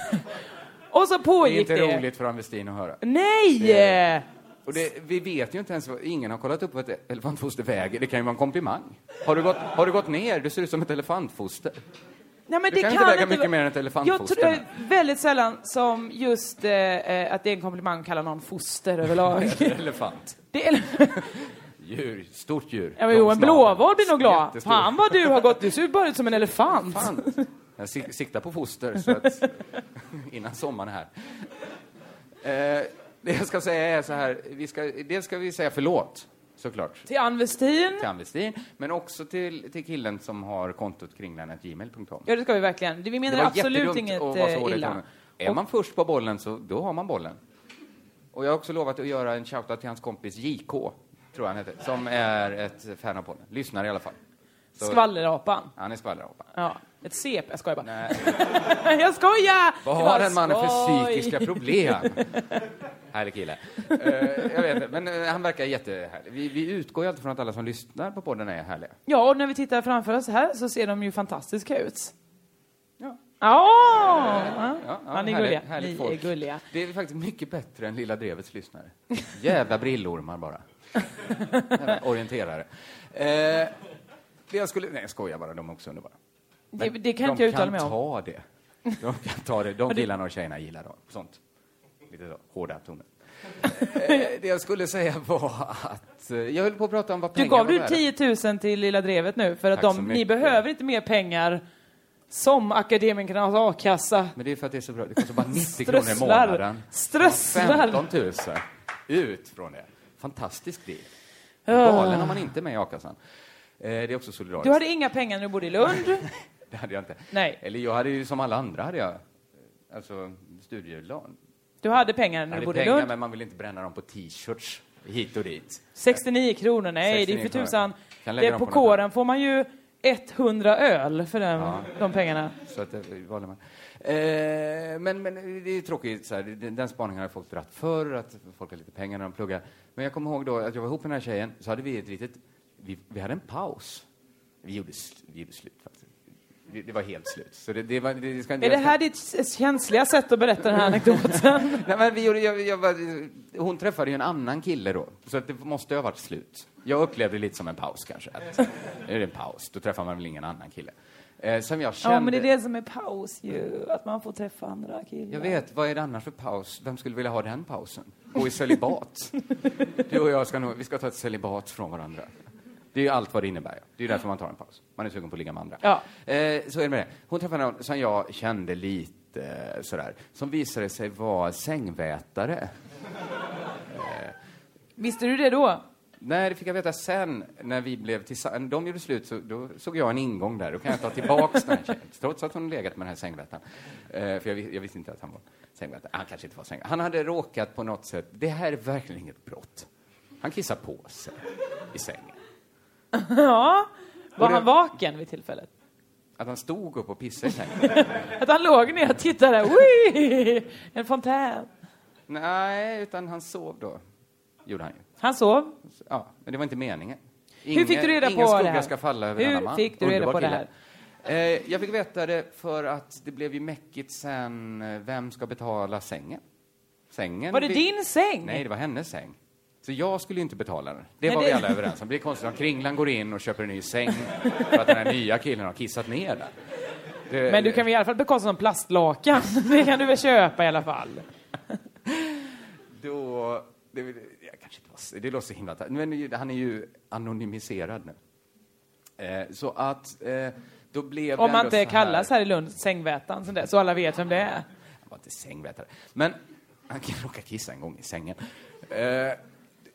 S6: [laughs] och så
S5: Det är
S6: pågick
S5: inte
S6: det.
S5: roligt för Ann Westin att höra.
S6: Nej!
S5: Och det, vi vet ju inte ens, vad- ingen har kollat upp vad ett e- elefantfoster väger. Det kan ju vara en komplimang. Har du gått, har du gått ner? Du ser ut som ett elefantfoster.
S6: Nej, men
S5: Du
S6: det
S5: kan
S6: kan
S5: inte väga
S6: vara-
S5: mycket mer än ett elefantfoster.
S6: Jag tror det är väldigt sällan som just eh, eh, att det är en komplimang att kalla någon
S5: [laughs]
S6: foster överlag.
S5: Elefant.
S6: [laughs] det är, [laughs]
S5: Djur. Stort djur.
S6: ja, men jo, en
S5: Långsnavel.
S6: blåvård blir nog glad.
S5: Jättestor.
S6: Fan vad du har gått, du ser bara ut som en elefant.
S5: Fan. Jag sik- siktar på foster så att, [laughs] innan sommaren är här. Eh, det jag ska säga är så här, vi ska, dels ska vi säga förlåt, såklart,
S6: Till Ann Westin.
S5: till Ann Westin, men också till, till killen som har kontot kringlan.gmail.com.
S6: Ja, det ska vi verkligen. Det- Vi menar absolut
S5: jättedumt att
S6: inget
S5: vara så
S6: eh,
S5: hård i
S6: illa.
S5: tonen. Är man först på bollen så då har man bollen. Och jag har också lovat att göra en shoutout till hans kompis JK, tror jag han heter, som är ett fan av podden. Lyssnar i alla fall. Så-
S6: Skvallerapan.
S5: Han är skvallerapa.
S6: Ja. Ett CP. Jag skojar bara.
S5: Nej.
S6: [laughs] jag skojar!
S5: Vad
S6: Det var
S5: har den mannen för
S6: skoj.
S5: psykiska problem? Härlig kille. Eh, jag vet inte, men eh, han verkar jättehärlig. Vi, vi utgår ju alltid från att alla som lyssnar på podden är härliga.
S6: Ja, och när vi tittar framför oss här så ser de ju fantastiska ut.
S5: Ja.
S6: Ja,
S5: Ja, ja,
S6: ja, ni
S5: härligt-
S6: är gulliga.
S5: härligt
S6: Ni är
S5: folk.
S6: gulliga.
S5: Det är faktiskt mycket bättre än Lilla Drevets lyssnare. Jävla brillormar bara. Jävla orienterare. Eh, det jag skulle... Nej, jag skojar bara. De är också underbara.
S6: [laughs] Det,
S5: Men
S6: det kan
S5: de
S6: inte jag uttala mig
S5: kan
S6: om.
S5: ta det. De kan ta det. De killarna och tjejerna gillar det. Sånt. Lite så, hårda
S6: [laughs]
S5: toner. Eh, det jag skulle säga var att... eh, Jag höll på att prata om vad
S6: Du
S5: pengar
S6: gav
S5: var
S6: du
S5: värda.
S6: 10 000 till Lilla Drevet nu för att
S5: Tack så
S6: de, ni
S5: mycket.
S6: behöver inte mer pengar som akademikernas a-kassa.
S5: Men det är för att det är så bra. Det
S6: [laughs]
S5: kostar bara 90 kronor i
S6: Strösslar.
S5: månaden.
S6: Strösslar.
S5: 15 000.
S6: Ah.
S5: Ut från det. Fantastisk deal. Galen om man inte är med i a-kassan. Eh, det är också solidariskt.
S6: Du hade inga pengar när du bodde
S5: [laughs]
S6: i Lund.
S5: Det hade jag inte.
S6: Nej.
S5: Eller jag hade ju som alla andra hade jag. eh, Alltså studielån.
S6: Du hade pengar när
S5: Jag hade
S6: du bodde i
S5: pengar
S6: Lund.
S5: men man vill inte bränna dem på t-shirts hit och dit.
S6: 69 kronor, nej det är
S5: 69
S6: för tusan.
S5: kronor. Kan lägga
S6: Det,
S5: dem
S6: på
S5: på något annat.
S6: kåren får man ju 100 öl för den, de pengarna.
S5: Så att det valde man. Eh, men, men det är tråkigt. Så här. Den, den spaningen har folk dratt förr, att folk har lite pengar när de pluggar. Men jag kommer ihåg då att jag var ihop med den här tjejen, så hade vi ett litet... Vi, vi hade en paus. Vi gjorde, sl- vi gjorde slut, faktiskt. Det, det var helt slut. Så det, det var, det, det ska inte,
S6: Är det
S5: jag ska-
S6: här ditt s- känsliga sätt att berätta den här anekdoten?
S5: [laughs] Nej, men vi gjorde, jag, jag var, hon träffade ju en annan kille då, så att det måste ju ha varit slut. Jag upplevde det lite som en paus kanske. Att, är det en paus, då träffar man väl ingen annan kille. Eh, som jag kände...
S6: Ja, men det är det som är paus ju, att man får träffa andra killar.
S5: Jag vet, vad är det annars för paus? Vem skulle vilja ha den pausen? Gå i celibat? Du och jag ska nog, vi ska ta ett celibat från varandra. Det är ju allt vad det innebär. Det är ju därför man tar en paus. Man är sugen på att ligga med andra.
S6: Ja.
S5: Eh, så är det med det. Hon träffade någon som jag kände lite eh, sådär, som visade sig vara sängvätare.
S6: Visste du det då?
S5: Nej, det fick jag veta sen när vi blev tillsammans. De gjorde slut, så då såg jag en ingång där. Då kan jag ta tillbaks den här tjejen, trots att hon legat med den här sängvätaren. Eh, för jag, vis- jag visste inte att han var sängvätare. Han kanske inte var sängvätare. Han hade råkat på något sätt. Det här är verkligen inget brott. Han kissar på sig i sängen.
S6: Ja. Var
S5: det-
S6: han vaken vid tillfället? [laughs]
S5: Att han stod upp och pissade i sängen.
S6: Att han låg ner och tittade, Ui! En fontän.
S5: Nej, utan han sov då. Gjorde han ju.
S6: Han sov.
S5: Så, Ja, men det var inte meningen.
S6: Hur fick du reda
S5: ingen
S6: på det
S5: skugga
S6: här?
S5: ska falla över
S6: Hur
S5: denna man.
S6: fick du reda
S5: Underbar
S6: på det
S5: kille.
S6: här?
S5: Eh, jag fick veta det för att det blev ju mäckigt sen, eh, vem ska betala sängen? Sängen?
S6: Var det
S5: vi-
S6: din säng?
S5: Nej, det var hennes säng. Så jag skulle ju inte betala den. Det
S6: Nej,
S5: var
S6: det-
S5: vi alla överens om. Det är konstigt om Kringlan går in och köper en ny säng för att den här nya killen har kissat ner den. Det-
S6: Men du kan väl i alla fall bekosta som plastlakan? [laughs] Det kan du väl köpa i alla fall?
S5: Då... Det, det, jag kanske inte var, så- det låter så himla... ta- Men ju- han är ju anonymiserad nu. Eh, så att... Eh, då blev det
S6: Om man
S5: ändå så
S6: inte kallas här i Lund sängvätan sådär, så alla vet vem det är.
S5: Han var inte sängvätare. Men han kan råka kissa en gång i sängen. Eh,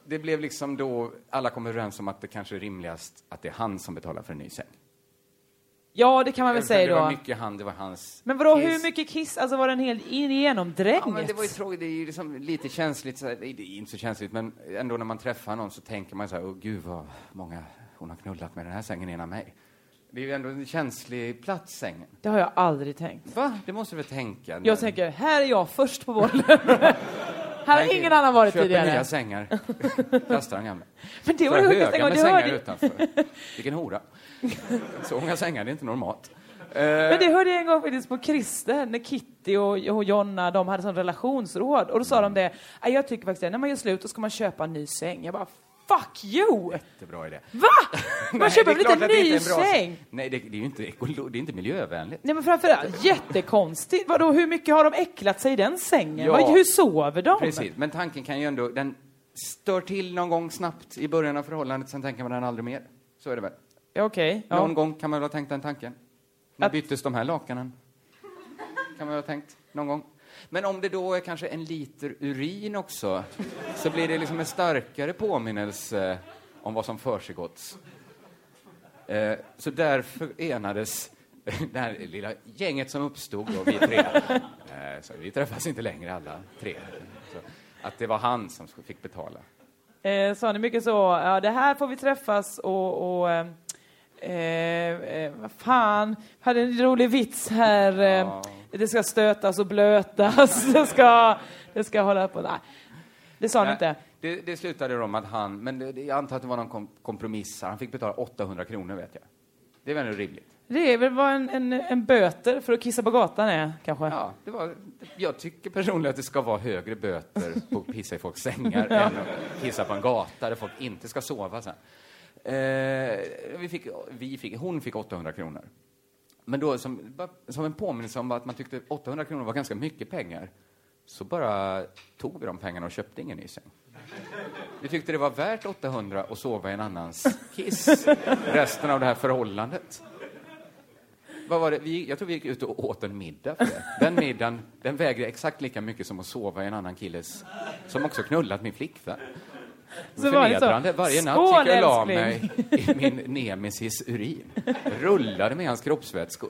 S5: det blev liksom då... Alla kom överens om att det kanske är rimligast att det är han som betalar för en ny säng.
S6: Ja, det kan man väl
S5: det
S6: säga
S5: var
S6: då.
S5: mycket han, det var hans
S6: Men vadå,
S5: kiss.
S6: hur mycket kiss? Alltså var den helt in- genomdränkt?
S5: Ja, men det var ju tråkigt. Det är ju liksom lite känsligt. Så här, det är inte så känsligt, men ändå när man träffar någon så tänker man så här, åh gud vad många hon har knullat med den här sängen innan mig. Det är ju ändå en känslig plats, sängen.
S6: Det har jag aldrig tänkt.
S5: Va? Det måste du väl tänka?
S6: Jag tänker, här är jag först på bollen. [laughs] här har ingen annan varit
S5: Köper
S6: tidigare.
S5: nya sängar.
S6: [laughs]
S5: Kastar de gamla.
S6: Men det var
S5: Så
S6: det
S5: här
S6: sjukaste en
S5: höga
S6: gång.
S5: med
S6: Det
S5: sängar
S6: hörde,
S5: utanför. Vilken hora. Så många sängar, det är inte normalt.
S6: men det hörde jag en gång faktiskt på Christer, när Kitty och, och Jonna de hade sån relationsråd. Och då sa de det, "Nej, jag tycker faktiskt det, när man gör slut då ska man köpa en ny säng. Jag bara, fuck you!
S5: Jättebra idé. [laughs]
S6: Va? Man
S5: Nej, det
S6: köper
S5: är
S6: väl
S5: klart
S6: inte
S5: att
S6: en
S5: det
S6: ny
S5: inte är en bra
S6: säng?
S5: Nej, det, det är ju inte, ekolo- det är inte miljövänligt.
S6: Nej men framförallt, jättekonstigt. Vadå, hur mycket har de äcklat sig i den sängen?
S5: Ja.
S6: Vad, hur sover de?
S5: Precis, men tanken kan ju ändå, den stör till någon gång snabbt i början av förhållandet, sen tänker man den aldrig mer. Så är det väl?
S6: Ja, Okej. ja.
S5: Någon gång kan man väl ha tänkt den tanken? När
S6: Att-
S5: byttes de här lakanen? Kan man väl ha tänkt någon gång? Men om det då är kanske en liter urin också, så blir det liksom en starkare påminnelse om vad som försiggått. Eh, så därför enades det här lilla gänget som uppstod då, vi tre. Eh, så vi träffas inte längre alla tre. Så, att det var han som sk- fick betala.
S6: Eh, sa ni mycket så, ja det här får vi träffas och, och eh, eh, eh, vad fan, jag hade en rolig vits här. Eh, Det ska stötas och blötas, [laughs] det ska, det ska hålla på. Nej, det sa ni
S5: Nej,
S6: inte.
S5: Det, det slutade då med att han, men det, det, jag antar att det var någon kom, kompromiss här. Han fick betala 800 kronor vet jag. Det är väl ändå rimligt?
S6: Det är väl vad en, en, en böter för att kissa på gatan är kanske.
S5: Ja, det var, jag tycker personligen att det ska vara högre böter på att pissa i folks sängar än att pissa på en gata där folk inte ska sova sen. Eh, vi fick, vi fick, hon fick 800 kronor. Men då som, bara som en påminnelse om att man tyckte 800 kronor var ganska mycket pengar så bara tog vi de pengarna och köpte ingen ny säng. Vi tyckte det var värt 800 att sova i en annans kiss resten av det här förhållandet. Vad var det? Vi, jag tror vi gick ut och åt en middag för det. Den middagen den vägde exakt lika mycket som att sova i en annan killes som också knullat min flickvän.
S6: Så var det
S5: Förnedrande.
S6: så.
S5: Varje natt
S6: Skål,
S5: gick jag och la
S6: älskling.
S5: mig i min nemesis urin. Rullade med hans kroppsvätskor.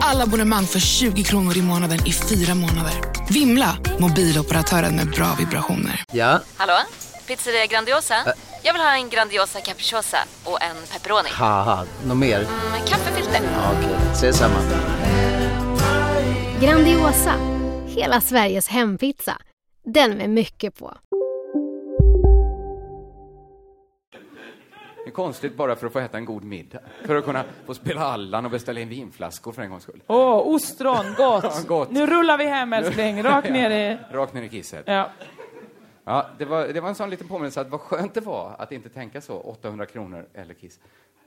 S7: Alla abonnemang för 20 kronor i månaden i fyra månader. Vimla! Mobiloperatören med bra vibrationer.
S8: Ja,
S9: Hallå? Pizzeria Grandiosa? Jag vill ha en Grandiosa capriciosa och en pepperoni.
S8: haha, något mer?
S9: Med kaffefilter.
S8: Ja, Okej, ses samma.
S10: Grandiosa, hela Sveriges hempizza. Den med mycket på.
S5: Det är konstigt bara för att få äta en god middag. För att kunna få spela Allan och beställa in vinflaskor för en gångs skull.
S6: Åh, ostron,
S5: [laughs]
S6: gott.
S5: Ja, gott.
S6: Nu rullar vi hem älskling, rakt ner i...
S5: Ja, Rakt ner i kisset.
S6: Ja.
S5: Ja, det, var, det var en sån liten påminnelse att vad skönt det var att inte tänka så, 800 kronor eller kiss,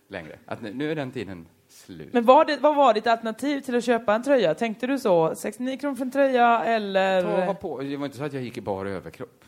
S5: längre. Att nu, nu är den tiden slut.
S6: Men var det, vad var ditt alternativ till att köpa en tröja? Tänkte du så? 69 kronor för en tröja eller...
S5: Ta, ha på. Det var inte så att jag gick i bara överkropp.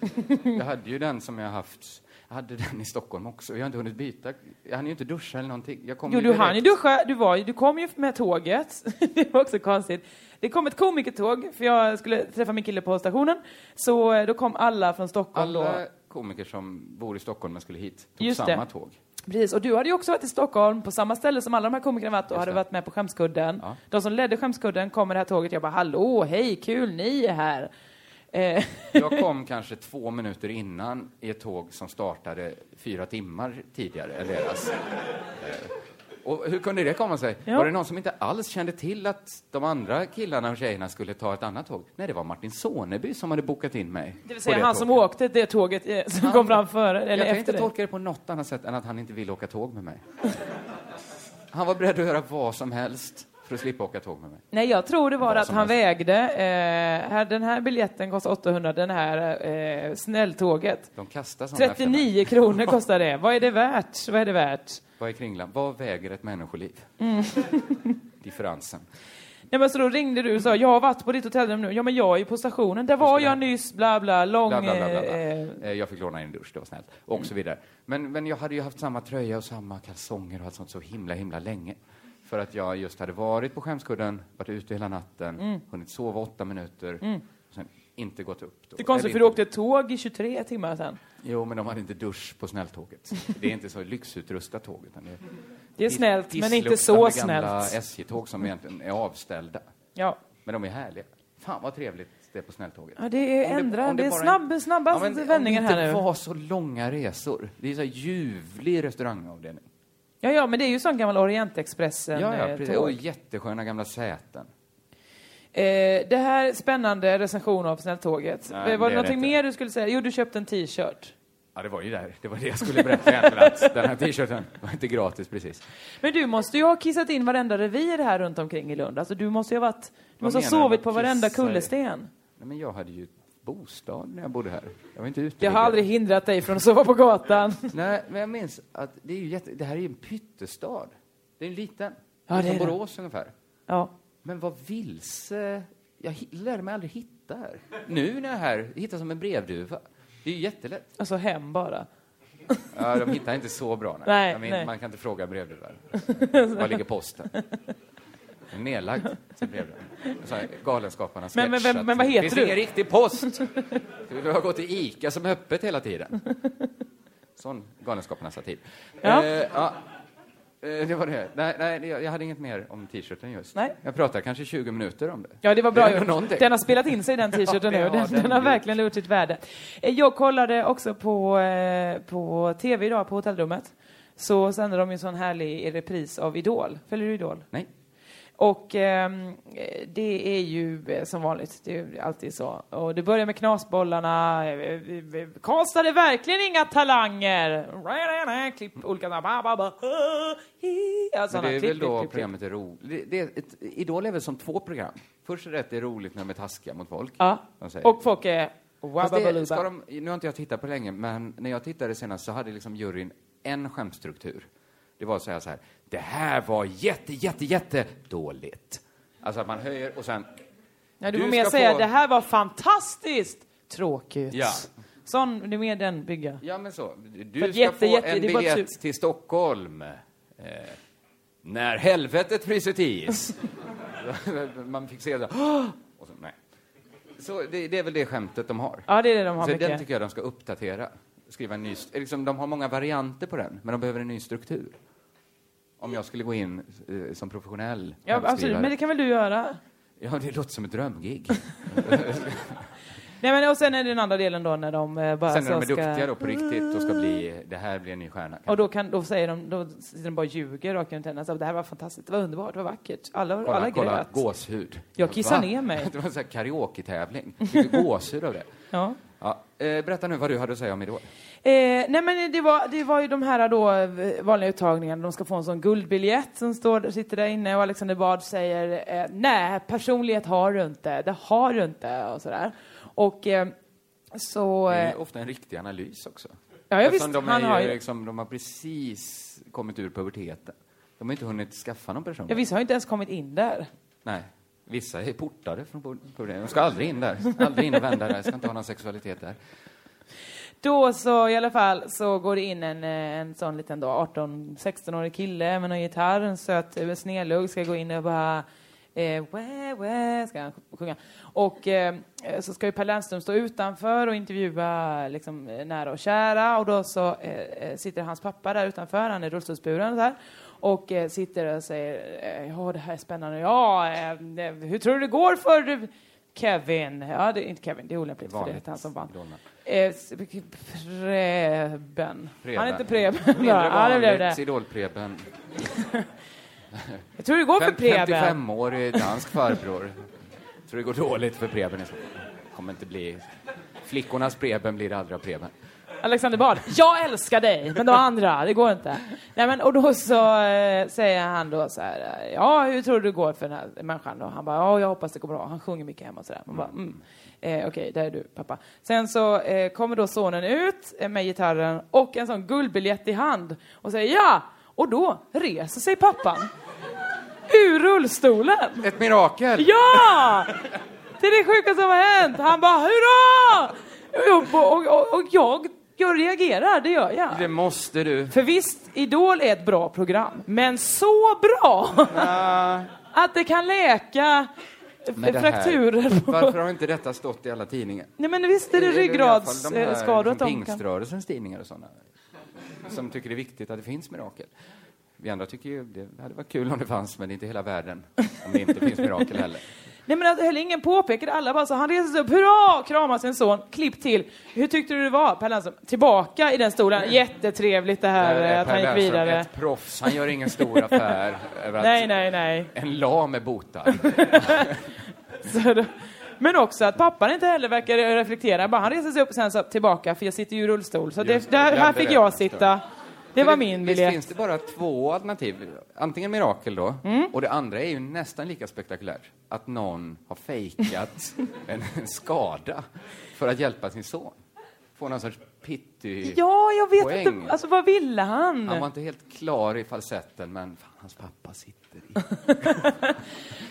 S6: [laughs]
S5: jag hade ju den som jag haft. Jag hade den i Stockholm också. Jag har inte hunnit byta. Jag hann ju inte duscha eller någonting. Jag kom
S6: Jo,
S5: ju
S6: du hann ju
S5: direkt.
S6: duscha. Du, var, ju- du kom ju med tåget. [laughs] det var också konstigt. Det kom ett komikertåg, för jag skulle träffa min kille på stationen. Så eh, då kom alla från Stockholm
S5: Alla
S6: då.
S5: komiker som bor i Stockholm men skulle hit tog
S6: Just
S5: samma
S6: det.
S5: tåg.
S6: Precis, och du hade ju också varit i Stockholm på samma ställe som alla de här komikerna varit och
S5: Just
S6: hade
S5: det.
S6: varit med på Skämskudden.
S5: Ja.
S6: De som ledde Skämskudden kom med det här tåget. Jag bara, hallå, hej, kul, ni är [laughs] här. Eh,
S5: Jag kom kanske två minuter innan i ett tåg som startade fyra timmar tidigare än deras. Eh, Och hur kunde det komma sig?
S6: Ja.
S5: Var det någon som inte alls kände till att de andra killarna och tjejerna skulle ta ett annat tåg? Nej, det var Martin Soneby som hade bokat in mig.
S6: det vill
S5: på
S6: säga han som åkte det tåget eh, som kom fram före, eller
S5: jag kan
S6: efter
S5: inte
S6: dig.
S5: tolka det på något annat sätt än att han inte ville åka tåg med mig. Han var beredd att göra vad som helst för att slippa åka tåg med mig.
S6: Nej, jag tror det var
S5: Vad
S6: att
S5: som
S6: han
S5: helst.
S6: vägde. Eh, här, den här biljetten kostar 800, den här eh, snälltåget.
S5: De kastar sådana här
S6: 39 kronor kostar det. Vad är det värt? Vad är det värt?
S5: Vad är kringlan? Vad väger ett människoliv?
S6: Mm.
S5: [laughs] Differensen.
S6: Nej, men så då ringde du och sa, jag har varit på ditt hotellrum nu. Ja, men jag är ju på stationen. Där var
S5: skulle
S6: jag
S5: hem.
S6: nyss, bla bla, lång...
S5: Bla, bla, bla, bla, bla.
S6: eh, Mm.
S5: Eh, Jag fick låna en dusch, det var snällt. Och så vidare. Men, men jag hade ju haft samma tröja och samma kalsonger och allt sånt så himla, himla länge. För att jag just hade varit på skämskudden, varit ute hela natten,
S6: Mm.
S5: hunnit sova åtta minuter, och sen inte gått upp. Då.
S6: det är konstigt,
S5: Eller
S6: för du
S5: inte-
S6: åkte tåg i 23 timmar sen.
S5: Jo, men de hade inte dusch på snälltåget. Det är inte så lyxutrustat tåg. Utan det, är
S6: Det är snällt, men inte så
S5: pissluktande gamla
S6: snällt.
S5: SJ-tåg som egentligen är avställda.
S6: Ja.
S5: Men de är härliga. Fan vad trevligt det är på snälltåget.
S6: Ja, det är
S5: Om
S6: ändra,
S5: om
S6: det, är
S5: bara-
S6: snabb, snabba
S5: men
S6: vändningar
S5: Om det
S6: här
S5: inte
S6: nu.
S5: var så långa resor. Det är så här ljuvlig restaurangavdelning.
S6: Ja, ja, men det är ju sån gammal Orientexpressen
S5: Ja, ja,
S6: eh,
S5: precis.
S6: tåg.
S5: Och jättesköna gamla säten.
S6: Eh, det här är spännande recension av Snälltåget.
S5: Nej,
S6: Eh,
S5: det är
S6: var
S5: det
S6: det någonting
S5: inte.
S6: mer du skulle säga? Jo, du köpte en t-shirt.
S5: Ja, det var ju där. Det var det jag skulle berätta egentligen. Att den här t-shirten var inte gratis precis.
S6: Men du måste ju ha kissat in varenda revir här runt omkring i Lund. Alltså, du måste ju ha varit... Du
S5: Vad
S6: måste ha
S5: menar du?
S6: sovit på varenda
S5: Kissa i-
S6: kullersten.
S5: Nej, men jag hade ju bostad när jag bodde här. Jag var inte ute.
S6: Det har aldrig hindrat dig från att sova på gatan.
S5: Nej, men jag minns att det, är ju jätte... det här är ju en pyttestad. Det är en liten.
S6: Ja, det
S5: som
S6: är det.
S5: Borås ungefär.
S6: [laughs] Ja.
S5: Men vad vilse... Jag hi- lärde mig aldrig hitta här. Nu när jag är här, hittar som en brevduva. Det är ju jättelätt.
S6: Alltså hem bara.
S5: Ja, de hittar inte så bra. Nej.
S6: Nej,
S5: Jag men,
S6: nej.
S5: Man kan inte fråga brevduvan.
S6: [laughs]
S5: Var ligger posten? Den är Nedlagd, till brevduvan. Så här, Galenskaparna
S6: Men- men vem-
S5: sketch att
S6: men vad heter
S5: finns
S6: du?"
S5: ingen riktig post. Vi behöver gå till ICA som är öppet hela tiden. Sån Galenskaparna satir.
S6: Ja.
S5: Eh, ja. Eh, Det var det. Nej, nej, jag jag hade inget mer om t-shirten just.
S6: Nej.
S5: Jag pratade kanske 20 minuter om det.
S6: Ja, det var bra
S5: är ändå någonting.
S6: gjort. Den har spelat in sig den [laughs] t-shirten
S5: Ja, det
S6: nu.
S5: har
S6: Den,
S5: den
S6: den har
S5: gjort.
S6: verkligen gjort sitt värde. Eh, Jag kollade också på, eh, på tv idag på hotellrummet. Så sände de ju en sån härlig repris av Idol. Följer du Idol?
S5: Nej.
S6: Och ehm, eh, det är ju eh, som vanligt, det är ju alltid så. Och det börjar med knasbollarna. eh, eh, eh, Karlstad är verkligen inga talanger! Klipp, olika... Ba, ba, ba, ja,
S5: Men
S6: såna
S5: det är
S6: klipp,
S5: väl då
S6: klipp, klipp, klipp.
S5: programmet är roligt. Det, det är ett, Idol är väl som två program. Först är det att det är roligt när de är taskiga mot folk.
S6: Ja.
S5: De säger,
S6: Och folk är...
S5: Fast
S6: Wababaluba.
S5: det, ska de, nu har inte jag tittat på det länge, men när jag tittade senast så hade liksom juryn en skämtstruktur. Det var så här, så här det här var jätte, jätte, jätte dåligt. Alltså att man höjer och sen...
S6: Nej, du,
S5: Du
S6: får mer
S5: ska
S6: säga
S5: få-
S6: det här var fantastiskt tråkigt.
S5: Ja.
S6: Sån, det är mer den bygga.
S5: Ja, men så. Du
S6: För
S5: ska
S6: att jätte,
S5: få
S6: jätte,
S5: en
S6: det är bara ett
S5: biljett till Stockholm. Eh, när helvetet fryser till is. [laughs] man fick se det. [gasps] "Åh!" Och så, nej. Så det, det är väl det skämtet de har.
S6: Ja, det är det de har
S5: så
S6: mycket.
S5: den tycker jag de ska uppdatera. Skriva en ny, st- liksom, de har många varianter på den, men de behöver en ny struktur. Om jag skulle gå in eh, som professionell
S6: Ja, absolut,
S5: skämtskrivare.
S6: men det kan väl du göra?
S5: Ja, det låter som ett
S6: [laughs]
S5: drömgig.
S6: Nej, men, och sen är det den andra delen då när de eh, bara
S5: Sen när
S6: så
S5: de är
S6: ska...
S5: duktiga då på riktigt och ska bli, det här blir en ny stjärna.
S6: Och då, kan, då säger de, då sitter de bara och ljuger rakt genom tänderna. Så, Alltså, Det här var fantastiskt, det var underbart, det var vackert. Alla, alla
S5: Kolla, kolla
S6: grät.
S5: gåshud.
S6: Jag kissar ner mig.
S5: [laughs] Det var en sån här karaoke-tävling. Fick du gåshud av det?
S6: Ja.
S5: Ja, eh, berätta nu vad du hade att säga om Idol.
S6: Eh, nej men det var, det var ju de här då eh, vanliga uttagningarna, de ska få en sån guldbiljett som står, sitter där inne och Alexander Bard säger eh, nej, personlighet har du inte, det har du inte och sådär. Och eh, så...
S5: Det är
S6: Eh,
S5: ju ofta en riktig analys också.
S6: Ja, ja,
S5: Eftersom
S6: visst,
S5: de,
S6: han
S5: är
S6: har
S5: ju,
S6: ju-
S5: liksom, de har precis kommit ur puberteten. De har inte hunnit skaffa någon person.
S6: ja, vissa har ju inte ens kommit in där.
S5: Nej. Vissa är portade från pu- puberteten. De ska aldrig in där. Aldrig in och vända där. Ska inte ha någon sexualitet där.
S6: Då så i alla fall så går det in en, eh, en sån liten då 18-16-årig kille med någon gitarr, en söt eh, snedlugg, ska gå in och bara eh, wah, wah, ska han sjunga. Och eh, så ska ju Per Lernström stå utanför och intervjua liksom, eh, nära och kära och då så eh, eh, sitter hans pappa där utanför, han är rullstolsburen och så här. Och eh, sitter och säger eh, ja det här är spännande, ja eh, eh, hur tror du det går för Kevin? Ja det är inte Kevin, det är olämpligt för det
S5: Vanligt.
S6: heter han som vann.
S5: Idolnamn.
S6: Eh, s- Preben. Han är inte Preben.
S5: Mindre
S6: Ja, det blev
S5: vanligt.
S6: det.
S5: Idol-Preben.
S6: Jag tror det går för
S5: Fem-
S6: Preben.
S5: 55-årig dansk farbror. Tror det går dåligt för Preben. i så fall. Kommer inte bli... Flickornas Preben blir det aldrig av Preben.
S6: Alexander Bard. Jag älskar dig, men de andra, det går inte. Nej, men, och då så eh, säger han då så här, eh, ja hur tror du det går för den här människan då? Han bara, ja jag hoppas det går bra. Han sjunger mycket hemma och sådär. Man bara, mm. Eh, Okej, där är du pappa. Sen så eh, kommer då sonen ut eh, med gitarren och en sån guldbiljett i hand och säger ja! Och då reser sig pappan ur rullstolen.
S5: Ett mirakel!
S6: Ja! Det är det sjukaste som har hänt. Han bara hurra! Och, och, och, och jag, jag reagerar, det gör jag.
S5: Det måste du.
S6: För visst, Idol är ett bra program, men så bra att det kan läka
S5: Men det här-
S6: frakturer. På...
S5: Varför har inte detta stått i alla tidningar?
S6: Nej men visst är det,
S5: i alla fall de här,
S6: ryggradsskador att
S5: liksom,
S6: de kan...
S5: Pingströrelsens tidningar och sådana. Som tycker det är viktigt att det finns mirakel. Vi andra tycker ju det hade varit kul om det fanns, men det är inte hela världen. Om det inte finns mirakel heller.
S6: Nej men att heller ingen påpekade, alla bara så han reser sig upp, hurra! Kramar sin son, klipp till. Hur tyckte du det var? Per Lernström, tillbaka i den stolen, jättetrevligt det [laughs] här,
S5: Där är
S6: eh, att
S5: Per
S6: han gick
S5: Lernström
S6: vidare.
S5: ett proffs. Han gör ingen stor
S6: [laughs]
S5: affär över att
S6: Nej, nej, nej.
S5: en lam är botad.
S6: [laughs] Så då, men också att pappan inte heller verkar reflektera, bara han reser sig upp och sen så tillbaka, för jag sitter ju i rullstol. Så det,
S5: Just det,
S6: där, här
S5: glömde
S6: fick
S5: det.
S6: jag sitta. [laughs] Det
S5: Men
S6: var min
S5: visst
S6: biljett.
S5: finns det bara två alternativ. Antingen mirakel då,
S6: Mm.
S5: och det andra är ju nästan lika spektakulärt. Att någon har
S6: [laughs]
S5: fejkat en, en skada för att hjälpa sin son. Få någon sorts pitty
S6: Ja, jag vet
S5: poäng.
S6: inte. Alltså vad ville han?
S5: Han var inte helt klar i falsetten, men fan, hans pappa sitter i...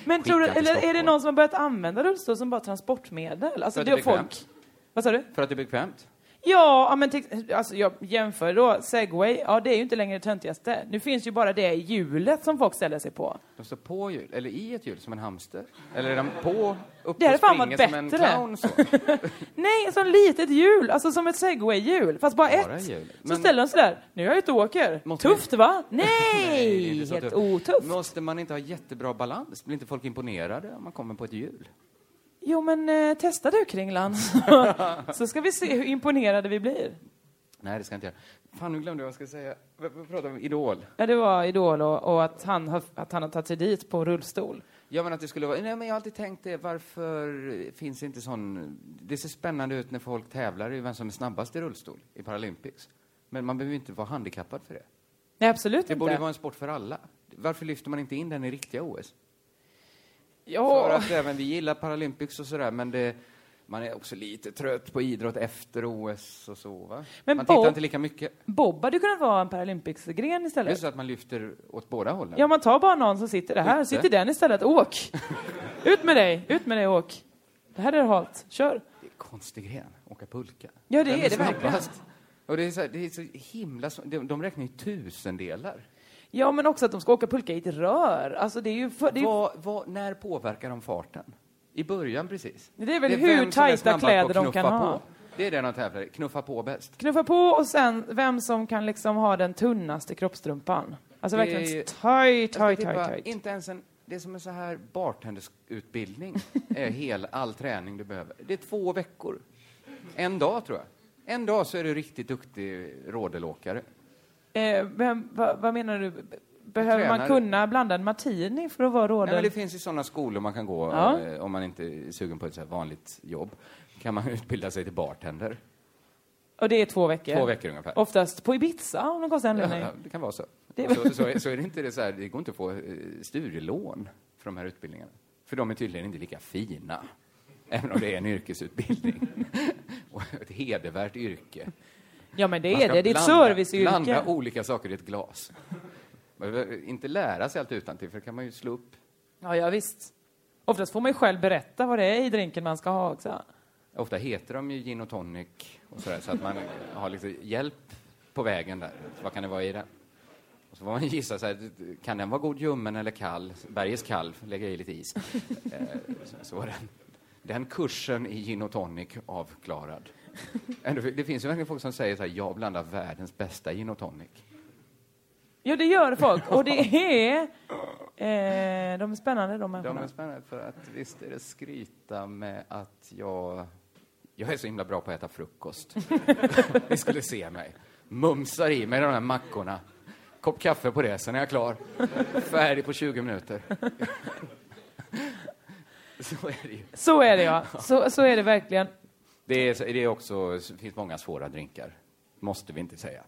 S6: men tror du,
S5: skickad till
S6: eller är det
S5: Stockholm.
S6: någon som har börjat använda rullstol som bara transportmedel? Alltså
S5: För att
S6: det
S5: det
S6: är
S5: är
S6: folk.
S5: bekvämt.
S6: Vad sa du?
S5: För att det är bekvämt.
S6: Ja, ja, men till, alltså jag jämför då segway, ja det är ju inte längre det töntigaste. Nu finns ju bara det hjulet som folk ställer sig på.
S5: De står på hjul, eller i ett hjul, som en hamster. Eller är de på, upp
S6: Det hade
S5: och
S6: fan varit
S5: springer som en
S6: bättre.
S5: clown. Så.
S6: [laughs] Nej, ett sånt litet hjul, alltså som ett segway-hjul, fast bara, ett.
S5: hjul.
S6: Så
S5: Men-
S6: ställer de sig där, nu är jag ute och åker.
S5: [laughs]
S6: Tufft va? Nej,
S5: Det är inte så
S6: helt
S5: tufft.
S6: otufft.
S5: Måste man inte ha jättebra balans? Blir inte folk imponerade om man kommer på ett hjul?
S6: Jo men eh, testa du
S5: [laughs]
S6: Kringlan, [laughs] så, så ska vi se hur imponerade vi blir.
S5: Nej, det ska jag inte göra. Fan, nu glömde jag vad jag ska säga. Vi vi pratar om Idol.
S6: Ja, det var Idol och, och att, han har, att han har tagit sig dit på rullstol.
S5: Ja, men att det skulle vara... Nej, men jag har alltid tänkt det. Varför finns inte sån... Det ser spännande ut när folk tävlar i vem som är snabbast i rullstol i Paralympics. Men man behöver ju inte vara handikappad för det.
S6: Nej, absolut
S5: Det
S6: inte.
S5: borde ju vara en sport för alla. Varför lyfter man inte in den i riktiga OS?
S6: Ja.
S5: För att även vi gillar Paralympics och sådär, men det, Man är också lite trött på idrott efter OS och så, va?
S6: Men
S5: man
S6: Bob-
S5: tittar inte lika mycket.
S6: Bob hade kunnat vara en Paralympics-gren
S5: Det är
S6: istället.
S5: så att man lyfter åt båda hållen.
S6: Ja, man tar bara någon som sitter där. Här
S5: Ute.
S6: sitter den istället. Åk! Ut med dig! Ut med dig och åk! Det här är halt. Kör!
S5: Konstig gren, åka pulka.
S6: Ja, det
S5: Vem
S6: är det verkligen.
S5: snabbast? Och det är så, här, det är så himla... så- De, de räknar ju tusendelar.
S6: Ja, men också att de ska åka pulka i ett rör. Alltså, det är ju... För, det är ju...
S5: Vad, vad, när påverkar de farten? I början precis.
S6: Det är väl
S5: vem
S6: hur
S5: som är
S6: tajta
S5: snabbast på
S6: kläder
S5: att
S6: de
S5: knuffa
S6: kan
S5: på.
S6: ha.
S5: Det är det de tävlar i, knuffa på bäst.
S6: Knuffa på och sen vem som kan liksom ha den tunnaste kroppstrumpan. Alltså
S5: Det
S6: verkligen
S5: är-
S6: tight,
S5: Jag
S6: tight,
S5: ska
S6: tight,
S5: tippa,
S6: tight.
S5: Inte ens en, det är som en så här bartendersutbildning
S6: [laughs]
S5: är hel, all träning du behöver. Det är två veckor. En dag tror jag. En dag så är du riktigt duktig rådelåkare.
S6: Eh, vem, va, vad menar du? Behöver man
S5: Tränare.
S6: kunna blanda en martini för att vara
S5: Nej, men
S6: rådel?
S5: det finns ju sådana skolor man kan gå
S6: Ja.
S5: eh, om man inte är sugen på ett så här vanligt jobb. kan man [laughs] utbilda sig till bartender.
S6: Och det är två veckor?
S5: Två veckor ungefär.
S6: Oftast på Ibiza om de kostar en
S5: Ja,
S6: lönning.
S5: ja, det kan vara så.
S6: Det-
S5: Och Så, så, är- så är det inte det så här, det går inte att få eh, studielån för de här utbildningarna. För de är tydligen inte lika fina. Även om det är en yrkesutbildning. [laughs] Och ett hedervärt yrke.
S6: Ja, men det
S5: Man
S6: är
S5: ska
S6: det. Det är ett
S5: blanda-
S6: serviceyrke.
S5: Blanda olika saker i ett glas. Man behöver inte lära sig allt utantill, för det kan man ju slå upp.
S6: Ja, ja, visst. Oftast får man ju själv berätta vad det är i drinken man ska ha också.
S5: Ofta heter de ju gin och tonic och sådär, så att man har liksom hjälp på vägen där. Vad kan det vara i den? Och så får man gissa så här, kan den vara god ljummen eller kall? Berges kall, lägga i lite is. Eh, så- så var den, den kursen i gin och tonic avklarad. Ändå, det finns ju verkligen folk som säger så här, jag blandar världens bästa gin och tonic.
S6: Ja, det gör folk. Och det är... Eh, de är spännande de
S5: De
S6: människorna.
S5: är spännande för att visst är det skryta med att jag... Jag är så himla bra på att äta frukost. Ni skulle se mig. Mumsar i mig de här mackorna. Kopp kaffe på det, sen är jag klar. Färdig på 20 minuter. [laughs] Så är det ju.
S6: Så är det ja. Så, så är det verkligen.
S5: Det är, så- det är också, det finns många svåra drinkar. Måste vi inte säga.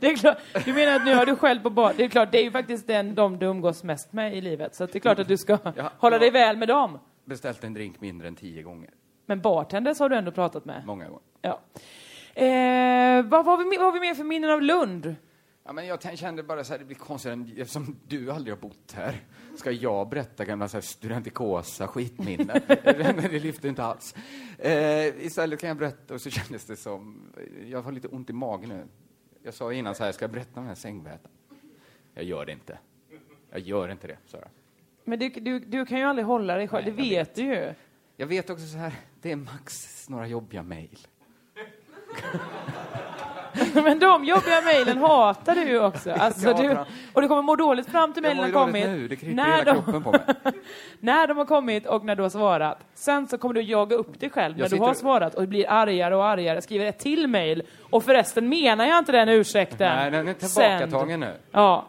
S6: Det är klart, du menar att nu har du själv på bar. Det är klart, det är ju faktiskt den, de du umgås mest med i livet. Så att det är klart att du ska hålla dig väl med dem.
S5: Beställt en drink mindre än tio gånger.
S6: Men bartenders har du ändå pratat med.
S5: Många gånger.
S6: Ja. Eh, vad, vad, har vi, me- vad har vi mer för minnen av Lund?
S5: Ja, men jag tän- kände bara så här, det blir konstigt om- eftersom du aldrig har bott här. Ska jag berätta gamla så här studentikosa
S6: [laughs]
S5: skitminnen? Men [laughs] det lyfter inte alls. Eh, istället kan jag berätta, och så kändes det som, jag har lite ont i magen nu. Jag sa innan så här, ska jag berätta om den här sängvätan? Jag gör det inte. Jag gör inte det, sa jag.
S6: Men du, du, du kan ju aldrig hålla dig själv, det vet, du ju.
S5: Jag vet också så här, det är max några jobbiga mejl.
S6: [laughs] Men de jobbiga mejlen hatar du ju
S5: [laughs]
S6: också. Alltså,
S5: Jag
S6: du,
S5: hatar dem.
S6: och du kommer må dåligt fram till
S5: Jag mår
S6: mejlen
S5: ju
S6: har
S5: dåligt
S6: kommit.
S5: nu, det kryper i hela kroppen på mig.
S6: [laughs] när de har kommit och när du har svarat. Sen så kommer du jaga upp dig själv
S5: Jag
S6: när du
S5: sitter-
S6: har svarat och blir argare och argare. Skriver ett till mejl. Och förresten menar jag inte den ursäkten.
S5: Nej, den är
S6: Sänd.
S5: tillbakatagen nu.
S6: Ja.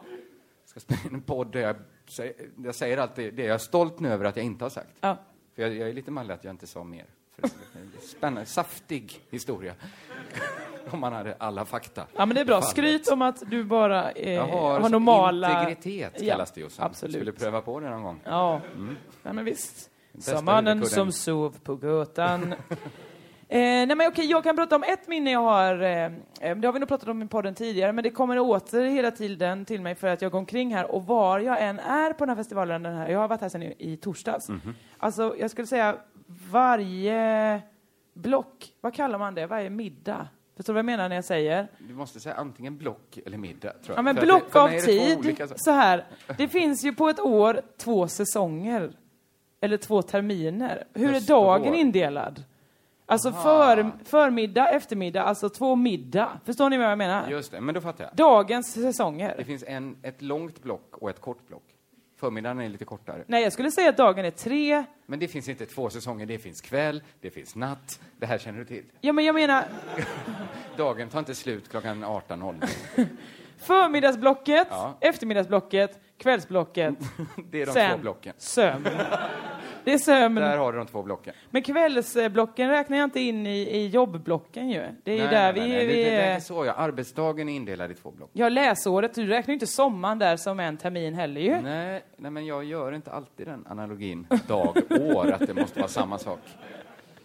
S5: ska spela in en podd där jag, säger- jag säger alltid det jag är stolt nu över att jag inte har sagt.
S6: Ja.
S5: För jag, jag är lite mallig att jag inte sa mer. För det är en Spännande, saftig historia. [laughs] Om man hade alla fakta.
S6: ja, men det är bra.
S5: Fan.
S6: Skryt om att du bara eh,
S5: Jag har, alltså
S6: har normala...
S5: integritet kallas det ju sen.
S6: Absolut.
S5: Skulle pröva på det någon gång.
S6: Ja,
S5: Mm.
S6: nej, men visst.
S5: Bästa
S6: Som mannen
S5: huvudkudden.
S6: som sov på gatan. [laughs] eh, nej, men okej, jag kan prata om ett minne jag har. Eh, eh, det har vi nog pratat om i podden tidigare, men det kommer åter hela tiden till mig för att jag går omkring här och var jag än är på den här festivalen, den här, jag har varit här sedan i, i torsdags. Alltså, jag skulle säga varje block, vad kallar man det? Varje middag? Förstår du vad jag menar när jag säger?
S5: Du måste säga antingen block eller middag. Tror jag.
S6: Ja, men
S5: För att
S6: block
S5: det- för
S6: av
S5: mig är det två
S6: tid.
S5: olika saker.
S6: Så här. Det finns ju på ett år två säsonger. Eller två terminer. Hur är
S5: Höst och
S6: dagen
S5: vår.
S6: indelad? Alltså
S5: Aha.
S6: för, förmiddag, eftermiddag, alltså två middag. Förstår ni vad jag menar?
S5: Just det, men då fattar jag.
S6: Dagens säsonger.
S5: Det finns en, ett långt block och ett kort block. Förmiddagen är lite kortare.
S6: Nej, jag skulle säga att dagen är tre.
S5: Men det finns inte två säsonger. Det finns kväll, det finns natt. Det här känner du till.
S6: Ja, men jag menar,
S5: Dagen tar inte slut klockan 18.00.
S6: förmiddagsblocket,
S5: Ja.
S6: eftermiddagsblocket, kvällsblocket.
S5: [laughs] [laughs] Det är de
S6: Sen
S5: två blocken.
S6: sömn. Det är sömn.
S5: Där har du de två blocken.
S6: Men kvällsblocken räknar jag inte in i, i jobbblocken ju. Det är ju
S5: Nej, nej,
S6: där vi...
S5: nej, nej.
S6: vi
S5: Det, det, det är
S6: eh,
S5: så, ja. Arbetsdagen är indelad i två block.
S6: Ja, läsåret. Du räknar ju inte sommaren där som en termin heller ju.
S5: Nej, nej, men jag gör inte alltid den analogin dag, år, att det måste vara samma sak.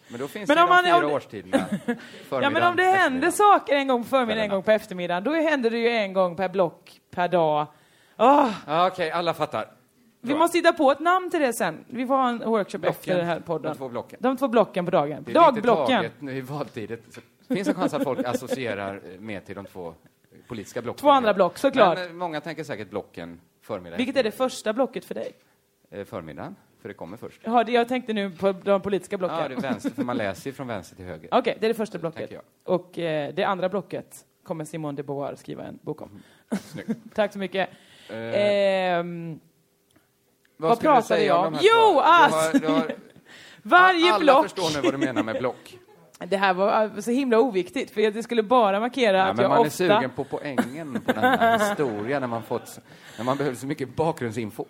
S5: Men då finns
S6: Men
S5: det
S6: om
S5: de
S6: man-
S5: fyra
S6: om-
S5: årstiderna.
S6: [laughs] Ja, men om det händer saker en gång på förmiddagen, en gång på eftermiddagen, då händer det ju en gång per block, per dag. Åh,
S5: Ja, Okej, alla fattar.
S6: vi måste hitta på ett namn till det sen. Vi får ha en workshop efter den här podden.
S5: De två blocken.
S6: De två blocken på dagen.
S5: Det är lite
S6: Dagblocken.
S5: taget nu i valtider. Så det finns en chans att folk associerar eh, med till de två politiska blocken.
S6: Två andra block, såklart.
S5: Men, eh, många tänker säkert blocken förmiddag.
S6: Vilket är det första blocket för dig?
S5: Eh, Förmiddagen, för det kommer först.
S6: Ja, det jag tänkte nu på de politiska blocken.
S5: Ja, det är vänster, för man läser ju från vänster till höger.
S6: Okej, det är det första blocket.
S5: Tänker jag.
S6: Och eh, det andra blocket kommer Simone de Beauvoir skriva en bok om.
S5: Mhm. Snyggt.
S6: [laughs] Tack så mycket.
S5: Eh,
S6: Ehm,
S5: Vad
S6: vad
S5: skulle du
S6: pratade
S5: säga
S6: jag
S5: om
S6: om?
S5: de här
S6: Jo,
S5: svaren?
S6: att
S5: Du har- du har-
S6: [laughs] varje
S5: Alla
S6: block...
S5: förstår nu vad du menar med
S6: [laughs]
S5: block.
S6: Det här var eh, så himla oviktigt, för det skulle bara markera
S5: Ja,
S6: att
S5: men
S6: jag
S5: man
S6: ofta...
S5: är sugen på poängen på den här
S6: [laughs]
S5: historien när man, fått, när man behöver så mycket bakgrundsinfo.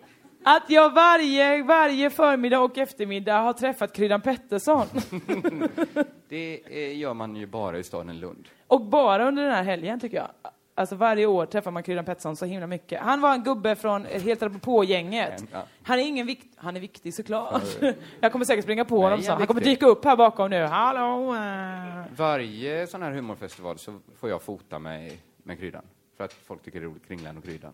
S6: Att jag varje, varje förmiddag och eftermiddag har träffat Kryddan
S5: [laughs]
S6: Pettersson. [laughs]
S5: Det eh, gör man ju bara i staden Lund.
S6: och bara under den här helgen, tycker jag. Alltså varje år träffar man Kryddan Pettersson så himla mycket. Han var en gubbe från eh, helt på gänget
S5: Ja.
S6: Han är ingen vikt... Han är viktig såklart.
S5: Ja.
S6: [laughs] Jag kommer säkert springa på
S5: Nej,
S6: honom
S5: han är
S6: sen. Han kommer
S5: viktig.
S6: dyka upp här bakom nu. Hallå! eh.
S5: Varje sån här humorfestival så får jag fota mig med kryddan. För att folk tycker det är roligt, kringlan och kryddan.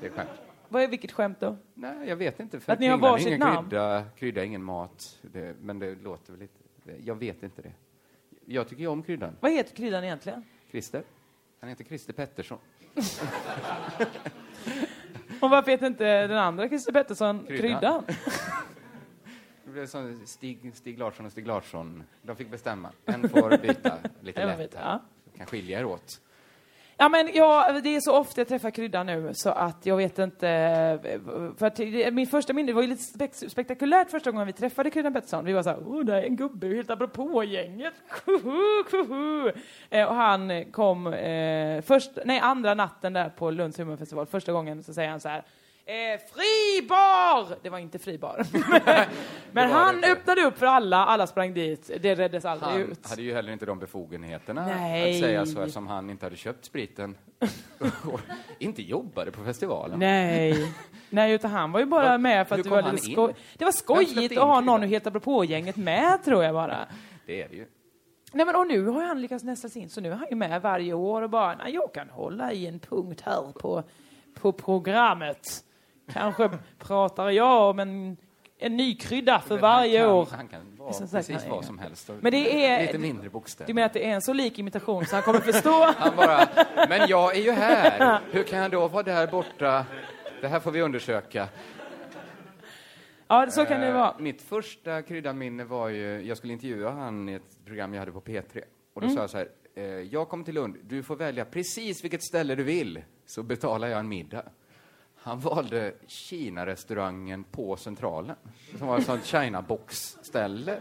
S5: Det är skämt.
S6: Vad är vilket skämt då?
S5: Nej, jag vet inte. För
S6: Att ni har
S5: kringlan är
S6: varsitt
S5: ingen
S6: namn?
S5: Krydda, krydda är ingen mat. Det, men det låter väl lite... det- Jag vet inte det. Jag tycker ju om kryddan.
S6: Vad heter kryddan egentligen?
S5: Christer. Han heter Christer Pettersson.
S6: Och varför heter inte den andra Christer Pettersson kryddan?
S5: Det blev som Stig, Stig Larsson och Stig Larsson. De fick
S6: [laughs]
S5: bestämma. En får byta lite
S6: En får
S5: lätt
S6: byta,
S5: här.
S6: ja.
S5: Kan skilja er åt.
S6: Ja, men jag, det är så ofta jag träffar Krydda nu så att jag vet inte. eh, För att det- min första minne det var ju lite spek spektakulärt första gången vi träffade Kryddan Pettersson. Vi var så här, åh, det är en gubbe helt apropå gänget. Kuhu, kuhu. Eh, och han kom eh, först, nej, andra natten där på Lunds humorfestival. Första gången så säger han så här, eh, fribar! Det var inte fribar. [laughs] men han öppnade upp för alla, alla sprang dit. Det räddes aldrig
S5: Han
S6: ut.
S5: hade ju heller inte de befogenheterna
S6: Nej.
S5: att säga så eftersom han inte hade köpt spriten [laughs] och inte jobbade på festivalen. [laughs]
S6: Nej. Nej, utan han var ju bara
S5: Vad-
S6: med för
S5: hur
S6: att det
S5: kom
S6: var
S5: han
S6: lite
S5: in?
S6: skoj. Det
S5: Vem
S6: var
S5: släppte
S6: skojigt
S5: in
S6: att ha någon att heta på gänget med, tror jag bara.
S5: Det är det ju.
S6: Nej, men och nu har han lyckats näsla sig in, så nu är han ju med varje år och bara, nej, jag kan hålla i en punkt här på, på programmet.
S5: [laughs]
S6: Kanske pratar jag om en, en ny krydda för varje
S5: han kan,
S6: år. Liksom
S5: Han kan vara
S6: Som sagt,
S5: precis
S6: han är-
S5: vad som helst. och
S6: Men det är...
S5: lite mindre bokstäver.
S6: Du menar att det är en så lik imitation så han kommer förstå?
S5: [laughs] Han bara, men jag är ju här. Hur kan jag då vara där borta? Det här får vi undersöka.
S6: [laughs] Ja, så kan det
S5: Eh,
S6: vara.
S5: Mitt första kryddanminne var ju, jag skulle intervjua han i ett program jag hade på P3. Och då
S6: Mm.
S5: sa jag så här, eh, jag kommer till Lund, du får välja precis vilket ställe du vill, så betalar jag en middag. Han valde Kina-restaurangen på Centralen, som var ett sånt China-box-ställe.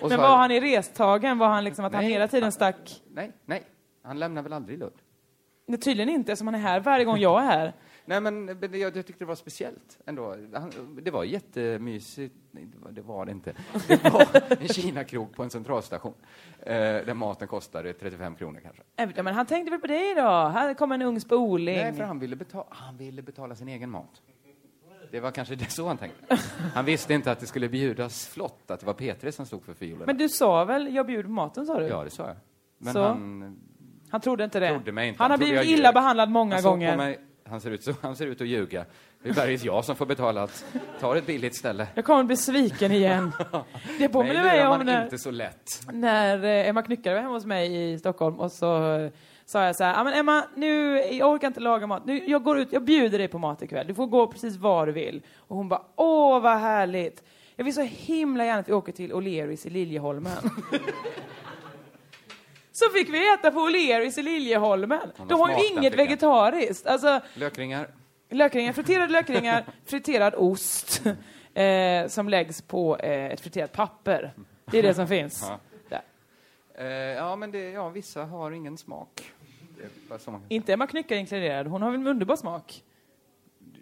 S5: Och
S6: Men
S5: så-
S6: var han i restagen? Var han liksom att han
S5: Nej.
S6: hela tiden stack?
S5: Nej, nej, han lämnar väl aldrig Lund?
S6: Nej, tydligen inte, som han är här varje gång jag är här.
S5: Nej, men men det- jag, jag tyckte det var speciellt ändå. Han, det var jättemysigt. Nej, det var det, var det inte. Det var en Kina-krog på en centralstation eh, där maten kostade 35 kronor kanske.
S6: Äh, Ja, men han tänkte väl på dig då? Här kommer en ung spoling.
S5: Nej, för han ville, betala, han ville betala sin egen mat. Det var kanske det så han tänkte. Han visste inte att det skulle bjudas flott, att det var Petri som stod för fiolerna.
S6: Men du sa väl, jag bjuder på maten sa du?
S5: Ja, det sa jag. Men
S6: Så?
S5: han
S6: Han trodde inte det.
S5: trodde mig inte.
S6: Han har
S5: trodde
S6: blivit
S5: jag
S6: illa
S5: ljög.
S6: behandlad många
S5: han såg
S6: gånger.
S5: På mig. Han, ser ut så, han ser ut att ljuga. Det är bergis jag som får betala. Att, ta ett billigt ställe.
S6: Jag kommer bli
S5: [laughs]
S6: sviken igen. Det påminner
S5: Nej,
S6: mig
S5: lurar
S6: om
S5: man
S6: när-
S5: inte så lätt.
S6: när eh, Emma Knyckare var hemma hos mig i Stockholm och så eh, sa jag så här, "Ja, men Emma, nu, jag orkar inte laga mat. Nu, jag, går ut, jag bjuder dig på mat ikväll. Du får gå precis var du vill. Och hon bara, åh vad härligt. Jag vill så himla gärna att vi åker till O'Learys i Liljeholmen. [laughs] så fick vi äta på O'Learys i Ljeholmen.
S5: Hon har
S6: De har ju
S5: smak, den
S6: inget
S5: flickan.
S6: vegetariskt. Alltså,
S5: Lökringar.
S6: Lökringar, friterade lökringar, friterad ost eh, som läggs på eh, ett friterat papper. Det är det som finns.
S5: Ja. Eh, ja, men det, ja, vissa har ingen smak. Det är bara så man-
S6: Inte Emma Knyckare inkluderad, hon har väl en underbar smak?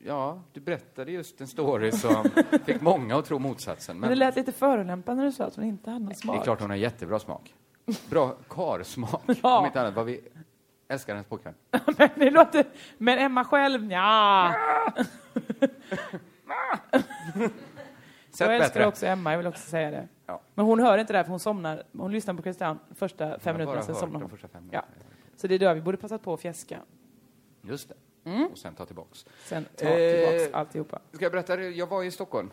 S5: ja, du berättade just en story
S6: [laughs]
S5: som fick många att tro motsatsen.
S6: Men det lät lite förolämpande när du sa att hon inte hade någon smak.
S5: Det är klart hon har jättebra smak. Bra karsmak, om inte annat. Vad vi älskar hennes pojkvän.
S6: [laughs] Men det låter... Men Emma själv, ja.
S5: Sätt
S6: Jag älskar
S5: bättre.
S6: också Emma, jag vill också säga det.
S5: Ja.
S6: Men hon hör inte det här för hon somnar. Hon lyssnar på Christian första fem
S5: har
S6: minuterna,
S5: bara
S6: sen
S5: hört
S6: somnar
S5: de
S6: hon.
S5: första fem
S6: ja. Så det är där vi borde passat på att fjäska.
S5: Just det.
S6: Mm.
S5: Och sen ta tillbaks.
S6: Sen ta tillbaks
S5: Eh, [laughs]
S6: alltihopa.
S5: Ska jag berätta? det? Jag var i Stockholm.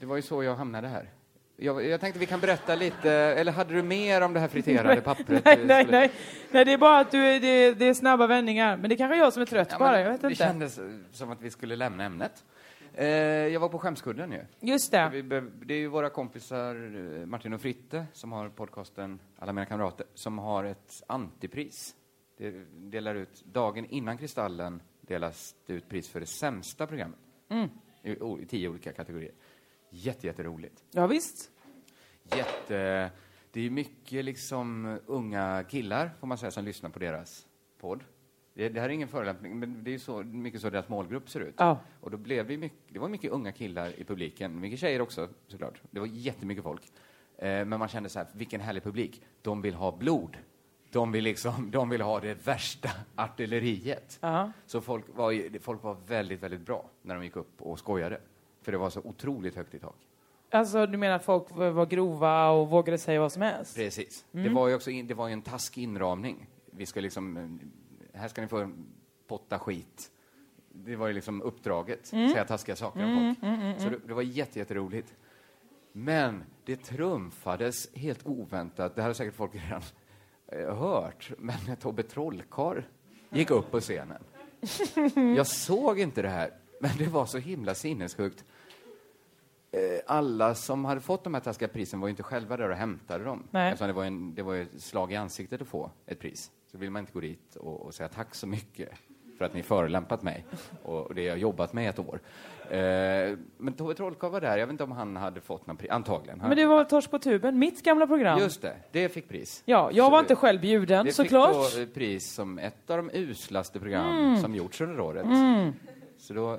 S5: Det var ju så jag hamnade här. Jag, jag tänkte vi kan berätta lite, eller hade du mer om det här friterade pappret?
S6: [laughs] Nej, nej, nej. nej det är bara att du, är- det, är- det är snabba vändningar. Men det kanske är jag som är trött
S5: Ja, men
S6: bara, jag vet
S5: det
S6: inte.
S5: kändes eh, som att vi skulle lämna ämnet. Eh, jag var på Skämskudden ju.
S6: Just det.
S5: Vi be- det är ju våra kompisar eh, Martin och Fritte som har podcasten Alla mina kamrater som har ett antipris. Det delar ut, dagen innan Kristallen delas det ut pris för det sämsta programmet.
S6: Mm.
S5: I, o- i tio olika kategorier. Jätte, jätteroligt.
S6: Ja, visst.
S5: Jätte... Det är ju mycket liksom unga killar, får man säga, som lyssnar på deras podd. Det, det här är ingen förolämpning, men det är ju så, mycket så deras målgrupp ser ut.
S6: Ja.
S5: Och då blev det, ju mycket, det var mycket unga killar i publiken, mycket tjejer också såklart. Det var jättemycket folk. Eh, men man kände så här, vilken härlig publik. De vill ha blod. De vill, liksom, [laughs] de vill ha det värsta artilleriet.
S6: Ja.
S5: Så folk var, ju- folk var väldigt, väldigt bra när de gick upp och skojade. För det var så otroligt högt i tak.
S6: Alltså, du menar att folk var var grova och vågade säga vad som helst?
S5: Precis.
S6: Mm.
S5: Det var ju också in, det var ju en taskig inramning. Vi ska liksom, eh, här ska ni få potta skit. Det var ju liksom uppdraget,
S6: Mm.
S5: säga taskiga saker om
S6: Mm,
S5: folk.
S6: mm, mm,
S5: Så det,
S6: mm.
S5: det var jätte, jätteroligt. Men det trumfades helt oväntat, det här har säkert folk [laughs] redan eh, hört, men Tobbe Trollkarl gick upp på
S6: [laughs]
S5: scenen. Jag såg inte det här, men det var så himla sinnessjukt. Eh, Alla som hade fått de här taskiga prisen var ju inte själva där och hämtade dem. Alltså,
S6: Nej.
S5: Eftersom det var, en, det var ju ett slag i ansiktet att få ett pris. Så vill man inte gå dit och, och säga tack så mycket för att ni förolämpat mig och och det jag jobbat med i ett år. Eh, men Tove Trollkarl var där, jag vet inte om han hade fått någon pris, antagligen. Han,
S6: Men det var Torsk på tuben, mitt gamla program.
S5: Just det, det fick pris.
S6: Ja, jag var inte själv bjuden
S5: Det
S6: såklart.
S5: fick då eh, pris som ett av de uslaste program
S6: Mm.
S5: som gjorts under året.
S6: Mm.
S5: Så då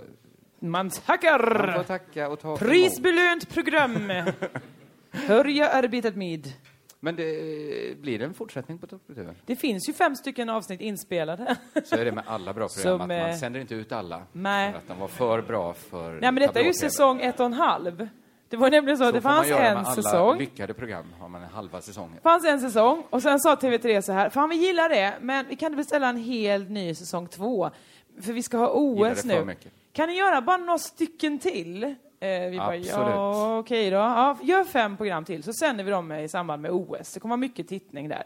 S6: Man tackar!
S5: Man får tacka och ta
S6: Prisbelönt
S5: [laughs]
S6: program! Hörja arbetat med.
S5: Men det, eh, blir det en fortsättning på Toppkulturen?
S6: Det finns ju fem stycken avsnitt inspelade.
S5: Så är det med alla bra program,
S6: Som,
S5: att
S6: eh,
S5: man sänder inte ut alla.
S6: Nej.
S5: För att de var för bra för
S6: [laughs] Nej men detta är ju
S5: tablå-tv.
S6: säsong ett och en halv. Det var nämligen så,
S5: Så
S6: att det
S5: får man
S6: fanns
S5: göra med
S6: en
S5: alla
S6: säsong.
S5: lyckade program har man halva säsongen.
S6: Det fanns en säsong och sen sa TV3 så här, fan vi gillar det, men vi kan inte beställa en helt ny säsong två. För vi ska ha
S5: Gillar det
S6: OS
S5: för
S6: nu.
S5: mycket.
S6: Kan ni göra bara några stycken till? Eh, vi bara, ja
S5: Absolut.
S6: okej då. Ja, gör fem program till så sänder vi dem i samband med OS. Det kommer vara mycket tittning där.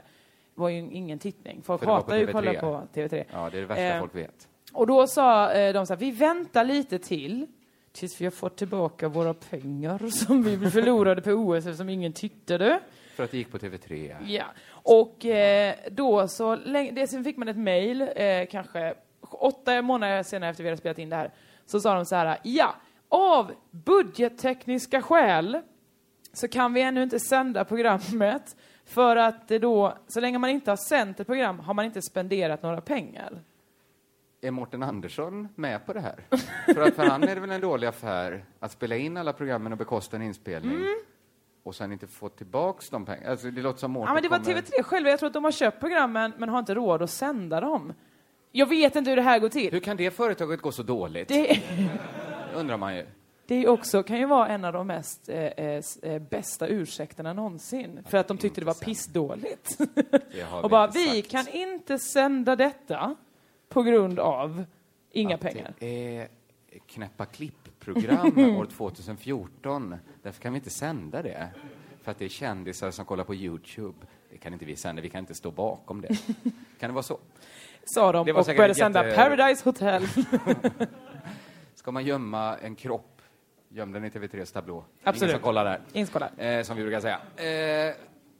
S6: Det var ju ingen tittning. Folk
S5: För det var på
S6: hatar ju att kolla
S5: TV3.
S6: på TV3.
S5: Ja, det är det värsta
S6: Eh,
S5: folk vet.
S6: Och då sa eh, de så här, vi väntar lite till tills vi har fått tillbaka våra pengar [laughs] som vi förlorade på OS eftersom ingen tittade.
S5: För att det gick på TV3.
S6: Ja. Och eh, då så länge, det, sen fick man ett mejl, eh, kanske åtta månader senare efter vi hade spelat in det här, så sa de så här, ja, av budgettekniska skäl så kan vi ännu inte sända programmet för att det då, så länge man inte har sänt ett program har man inte spenderat några pengar.
S5: Är Morten Andersson med på det här? [laughs] för, att för han är det väl en dålig affär att spela in alla programmen och bekosta en inspelning och sen inte få tillbaks de pengarna? Alltså, det låter som Mårten
S6: Mm. Ja, men det var
S5: kommer...
S6: TV3 själva, jag tror att de har köpt programmen men har inte råd att sända dem. Jag vet inte hur det här går till.
S5: Hur kan det företaget gå så dåligt?
S6: Det-
S5: undrar man ju.
S6: Det är också, kan ju vara en av de mest eh, eh, s- eh, bästa ursäkterna någonsin. För att de tyckte det var pissdåligt.
S5: [laughs] Det har
S6: Och
S5: vi
S6: bara,
S5: inte
S6: vi kan inte sända detta på grund av inga pengar.
S5: Det är knäppa klipp-program
S6: [laughs]
S5: år 2014. Därför kan vi inte sända det. För att det är kändisar som kollar på Youtube. Det kan inte vi sända, vi kan inte stå bakom det. Kan det vara så?
S6: Sa de
S5: Det var
S6: och
S5: säkert
S6: började
S5: ett
S6: sända
S5: jätte-
S6: Paradise Hotel. [laughs]
S5: Ska man gömma en kropp, göm den i TV3s tablå.
S6: Absolut.
S5: Ingen som kollar där.
S6: Ingen som
S5: Eh, som vi brukar säga. Eh,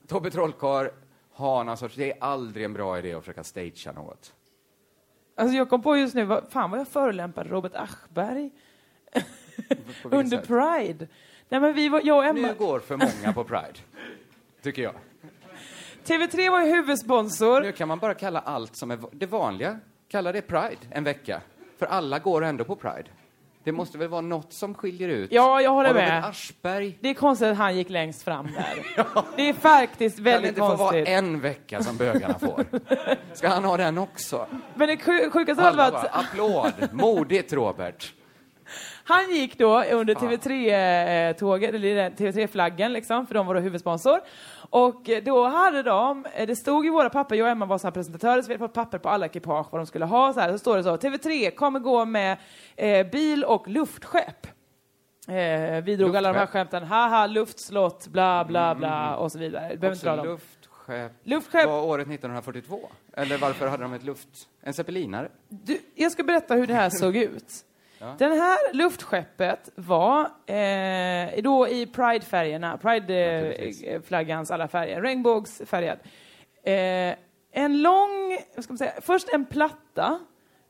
S5: Tobbe Trollkarl har någon sorts, det är aldrig en bra idé att försöka stagea något.
S6: alltså jag kom på just nu, vad, fan vad jag förolämpade Robert Aschberg.
S5: På vilket
S6: Under
S5: sätt?
S6: Pride. Nej men vi var, jag och Emma.
S5: Nu går för många på Pride, tycker jag.
S6: TV3 var ju huvudsponsor.
S5: Nu kan man bara kalla allt som är va- det vanliga, kalla det Pride en vecka. För alla går ändå på Pride. Det måste väl vara något som skiljer ut?
S6: Ja, jag håller
S5: Har de
S6: med.
S5: en Aschberg?
S6: Det är konstigt att han gick längst fram
S5: [laughs]
S6: där. Det är faktiskt
S5: Kan det
S6: väldigt
S5: inte få vara
S6: konstigt.
S5: en vecka som bögarna får? Ska han ha den också?
S6: [laughs] Men det sju- sjukaste hade
S5: Alla
S6: varit
S5: bara,
S6: att
S5: applåd! Modigt, Robert!
S6: [laughs] han gick då under TV3-tåget, eller TV3-flaggen liksom, för de var då huvudsponsor. Och eh, då hade de, eh, det stod i våra papper, jag och Emma var så här presentatörer så vi hade fått papper på alla ekipage vad de skulle ha. Så, här, så står det så, TV3 kommer gå med eh, bil och luftskepp. Eh, vi drog alla de här
S5: Luftskepp. Mm.
S6: skämten, haha luftslott, bla bla bla och så vidare. Du behöver inte dra
S5: Också
S6: dem.
S5: luftskepp.
S6: Luftskepp.
S5: Var året 1942? Eller varför hade de ett luft... En zeppelinare?
S6: Du, jag ska berätta hur det här såg ut.
S5: Ja.
S6: Den här luftskeppet var eh, då i Pride-färgerna,
S5: Naturligtvis.
S6: Pride-flaggans alla färger, regnbågsfärgad. Eh, en lång, vad ska man säga, först en platta,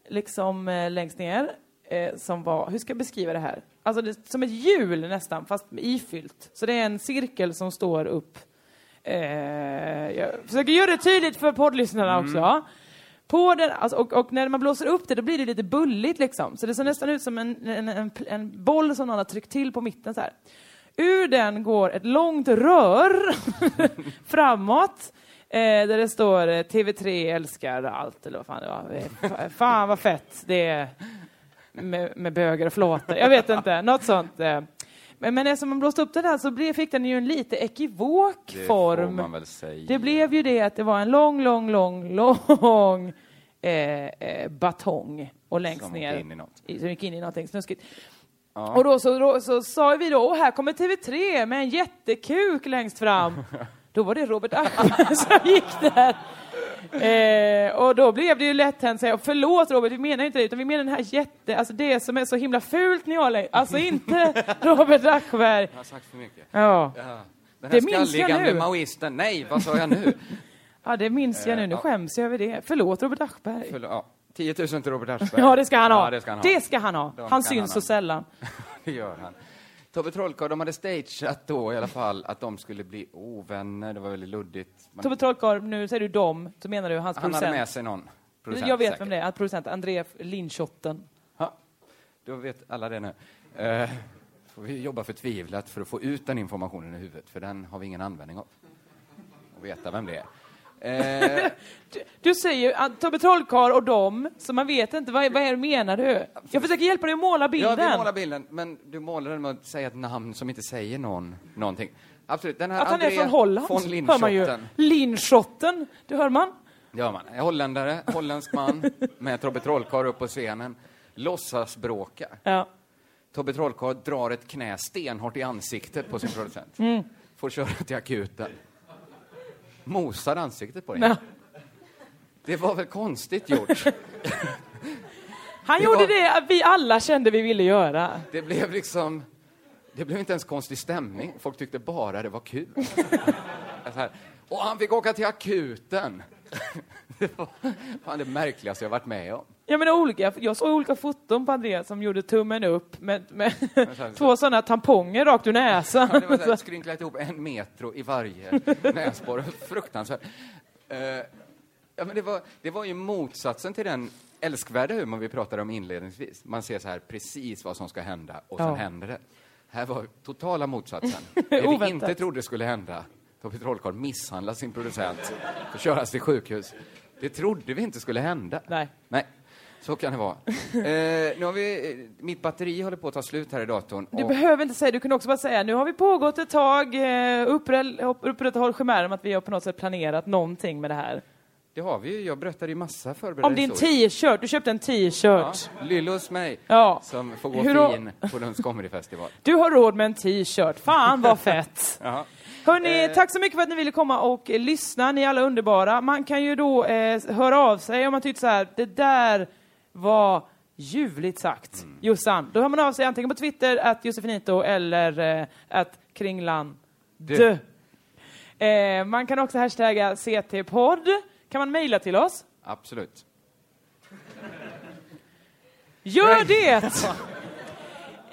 S6: liksom eh, längst ner, eh, som var, hur ska jag beskriva det här? Alltså det, som ett hjul nästan, fast ifyllt. Så det är en cirkel som står upp. Eh, jag försöker göra det tydligt för poddlyssnarna
S11: Mm.
S6: också. På den, alltså, och, och när man blåser upp det då blir det lite bulligt liksom. Så det ser nästan ut som en, en, en, en boll som någon har tryckt till på mitten så här. Ur den går ett långt rör [laughs] framåt. Eh, där det står eh, TV3 älskar allt eller vad fan det var. Eh, fa- Fan vad fett det är med, med böger och flåtar. Jag vet inte, något sånt. eh. Men, men eftersom man blåste upp den här så blev, fick den ju en lite ekivok
S5: Det får
S6: form.
S5: man väl säga.
S6: Det blev ju det att det var en lång, lång, lång, lång eh, eh, batong och längst
S5: Som gick
S6: ner.
S5: in i något.
S6: i- Som gick in i någonting snuskigt.
S5: Ja.
S6: Och då så, då så sa vi då, "Åh, här kommer TV3 med en jättekuk
S5: [laughs]
S6: längst fram. då var det Robert Aschberg [laughs] som gick där. Eh, och då blev det ju lätt hänt säga, förlåt Robert, vi menar ju inte det, utan vi menar den här jätte, alltså det som är så himla fult ni har längst,
S5: [laughs]
S6: alltså inte Robert Aschberg.
S5: Jag har sagt för mycket.
S6: Ja.
S5: Den
S6: Det
S5: här
S6: minns jag
S5: skalliga
S6: nu.
S5: maoisten. Nej, vad sa jag nu?
S6: Ja, det minns jag nu, nu
S5: Eh, ja.
S6: skäms jag över det. Förlåt Robert Aschberg.
S5: Förlåt, ja. 10 000 till Robert Aschberg.
S6: Ja, det ska han ha.
S5: Ja, det ska han ha.
S6: ha.
S5: De
S6: Han
S5: ska han
S6: syns
S5: ha.
S6: så sällan.
S5: [laughs] Det gör han. Tobbe Trollkarl, de hade stageat då i alla fall att de skulle bli ovänner. Det var väldigt luddigt. Man-
S6: Tobbe Trollkarl, nu säger du dem, då menar du hans
S5: han
S6: producent.
S5: hade med sig någon. Producent,
S6: jag vet
S5: säkert.
S6: vem det är, att producent André Lindshotten.
S5: Då vet alla det nu. Eh, får vi jobba förtvivlat för att få ut den informationen i huvudet, för den har vi ingen användning av. Och veta vem det
S6: [laughs]
S5: är. Eh,
S6: Du, du säger ju att Tobbe Trollkarl och dem, så man vet inte, vad, är- vad är det menar du? Jag försöker hjälpa dig att måla bilden.
S5: Ja, vi målar bilden, men du målar den med att säga ett namn som inte säger någon någonting. Absolut. Den här
S6: att han
S5: André
S6: är från Holland,
S5: von
S6: hör man ju.
S5: Linschotten.
S6: Lindshotten, det hör man.
S5: Det gör man. En Holländare, holländsk man, med Tobbe Trollkarl upp på scenen. Låtsas bråka.
S6: Ja.
S5: Tobbe Trollkarl drar ett knä stenhårt i ansiktet på sin producent.
S6: Mm.
S5: Får köra till akuten. Mosar ansiktet på dig.
S6: Nej.
S5: Det var väl konstigt gjort?
S6: Han
S5: Det
S6: gjorde
S5: var-
S6: det att vi alla kände vi ville göra.
S5: Det blev liksom... Det blev inte ens konstig stämning. Folk tyckte bara det var kul. Så här. Och han fick åka till akuten. [laughs] Det var fan det märkligaste jag varit med om.
S6: Jag menar olika, jag såg olika foton på André som gjorde tummen upp med, med [laughs] två sådana tamponger rakt ur näsan.
S5: Ja, det
S6: [laughs]
S5: var så här, skrynklat ihop en metro i varje näsborre. Fruktansvärt. Eh, ja, men det, var, det var ju motsatsen till den älskvärda humor vi pratade om inledningsvis. Man ser så här precis vad som ska hända och sen
S6: Ja.
S5: händer det. Här var totala
S6: [laughs]
S5: motsatsen. Det vi
S6: Oväntat.
S5: inte trodde skulle hända, Tobbe Trollkarl misshandlar sin producent och köras till sjukhus. Det trodde vi inte skulle hända.
S6: Nej.
S5: Nej. Så kan det vara. Eh, nu har vi, eh, mitt batteri håller på att ta slut här i datorn.
S6: Du
S5: och-
S6: behöver inte säga, du kunde också bara säga nu har vi pågått ett tag, eh, uppräll- upp- upprätthåll chimären om att vi har på något sätt planerat någonting med det här.
S5: Det har vi ju. Jag berättade ju massa förberedelser.
S6: Om din t-shirt, du köpte en t-shirt.
S5: Ja, Lyllos mig,
S6: Ja.
S5: som får gå
S6: Hur då?
S5: fin på Lunds comedyfestival.
S6: Du har råd med en t-shirt, fan vad fett!
S5: [laughs] Ja.
S6: Hörni, tack så mycket för att ni ville komma och eh, lyssna, ni är alla underbara. Man kan ju då eh, höra av sig om man tyckte så här, det där var ljuvligt sagt, Jossan. Då hör man av sig antingen på Twitter, att Josefinito, eller eh, att Kringland.
S5: Du.
S6: Eh, man kan också hashtagga CT-podd. Kan man mejla till oss?
S5: Absolut.
S6: Gör det!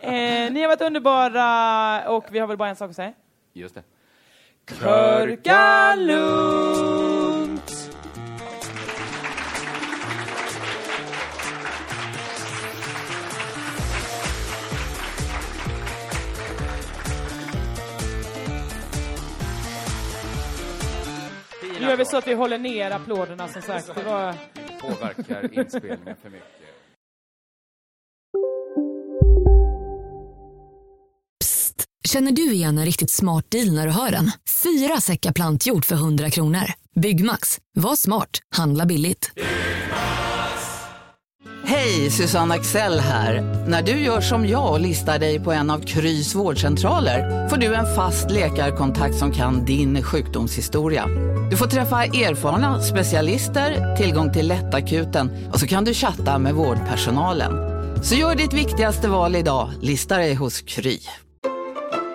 S6: Eh, ni har varit underbara och vi har väl bara en sak att säga.
S5: Just det.
S6: Körka lugnt! gör vi så att vi håller ner applåderna som sagt. Det var...
S5: Påverkar inspelningen för mycket.
S12: Känner du igen en riktigt smart deal när du hör den? Fyra säckar plantjord för 100 kronor. Byggmax. Var smart. Handla billigt.
S13: Hej, Susanne Axel här. När du gör som jag och listar dig på en av Krys vårdcentraler får du en fast läkarkontakt som kan din sjukdomshistoria. Du får träffa erfarna specialister, tillgång till lättakuten och så kan du chatta med vårdpersonalen. Så gör ditt viktigaste val idag, lista dig hos Kry.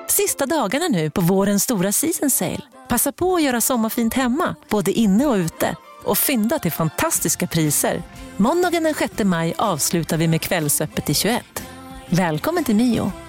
S14: Sista dagarna nu på vårens stora season sale. Passa på att göra sommarfint hemma, både inne och ute. Och fynda till fantastiska priser. Måndagen den 6 maj avslutar vi med Kvällsöppet i 21. Välkommen till Mio.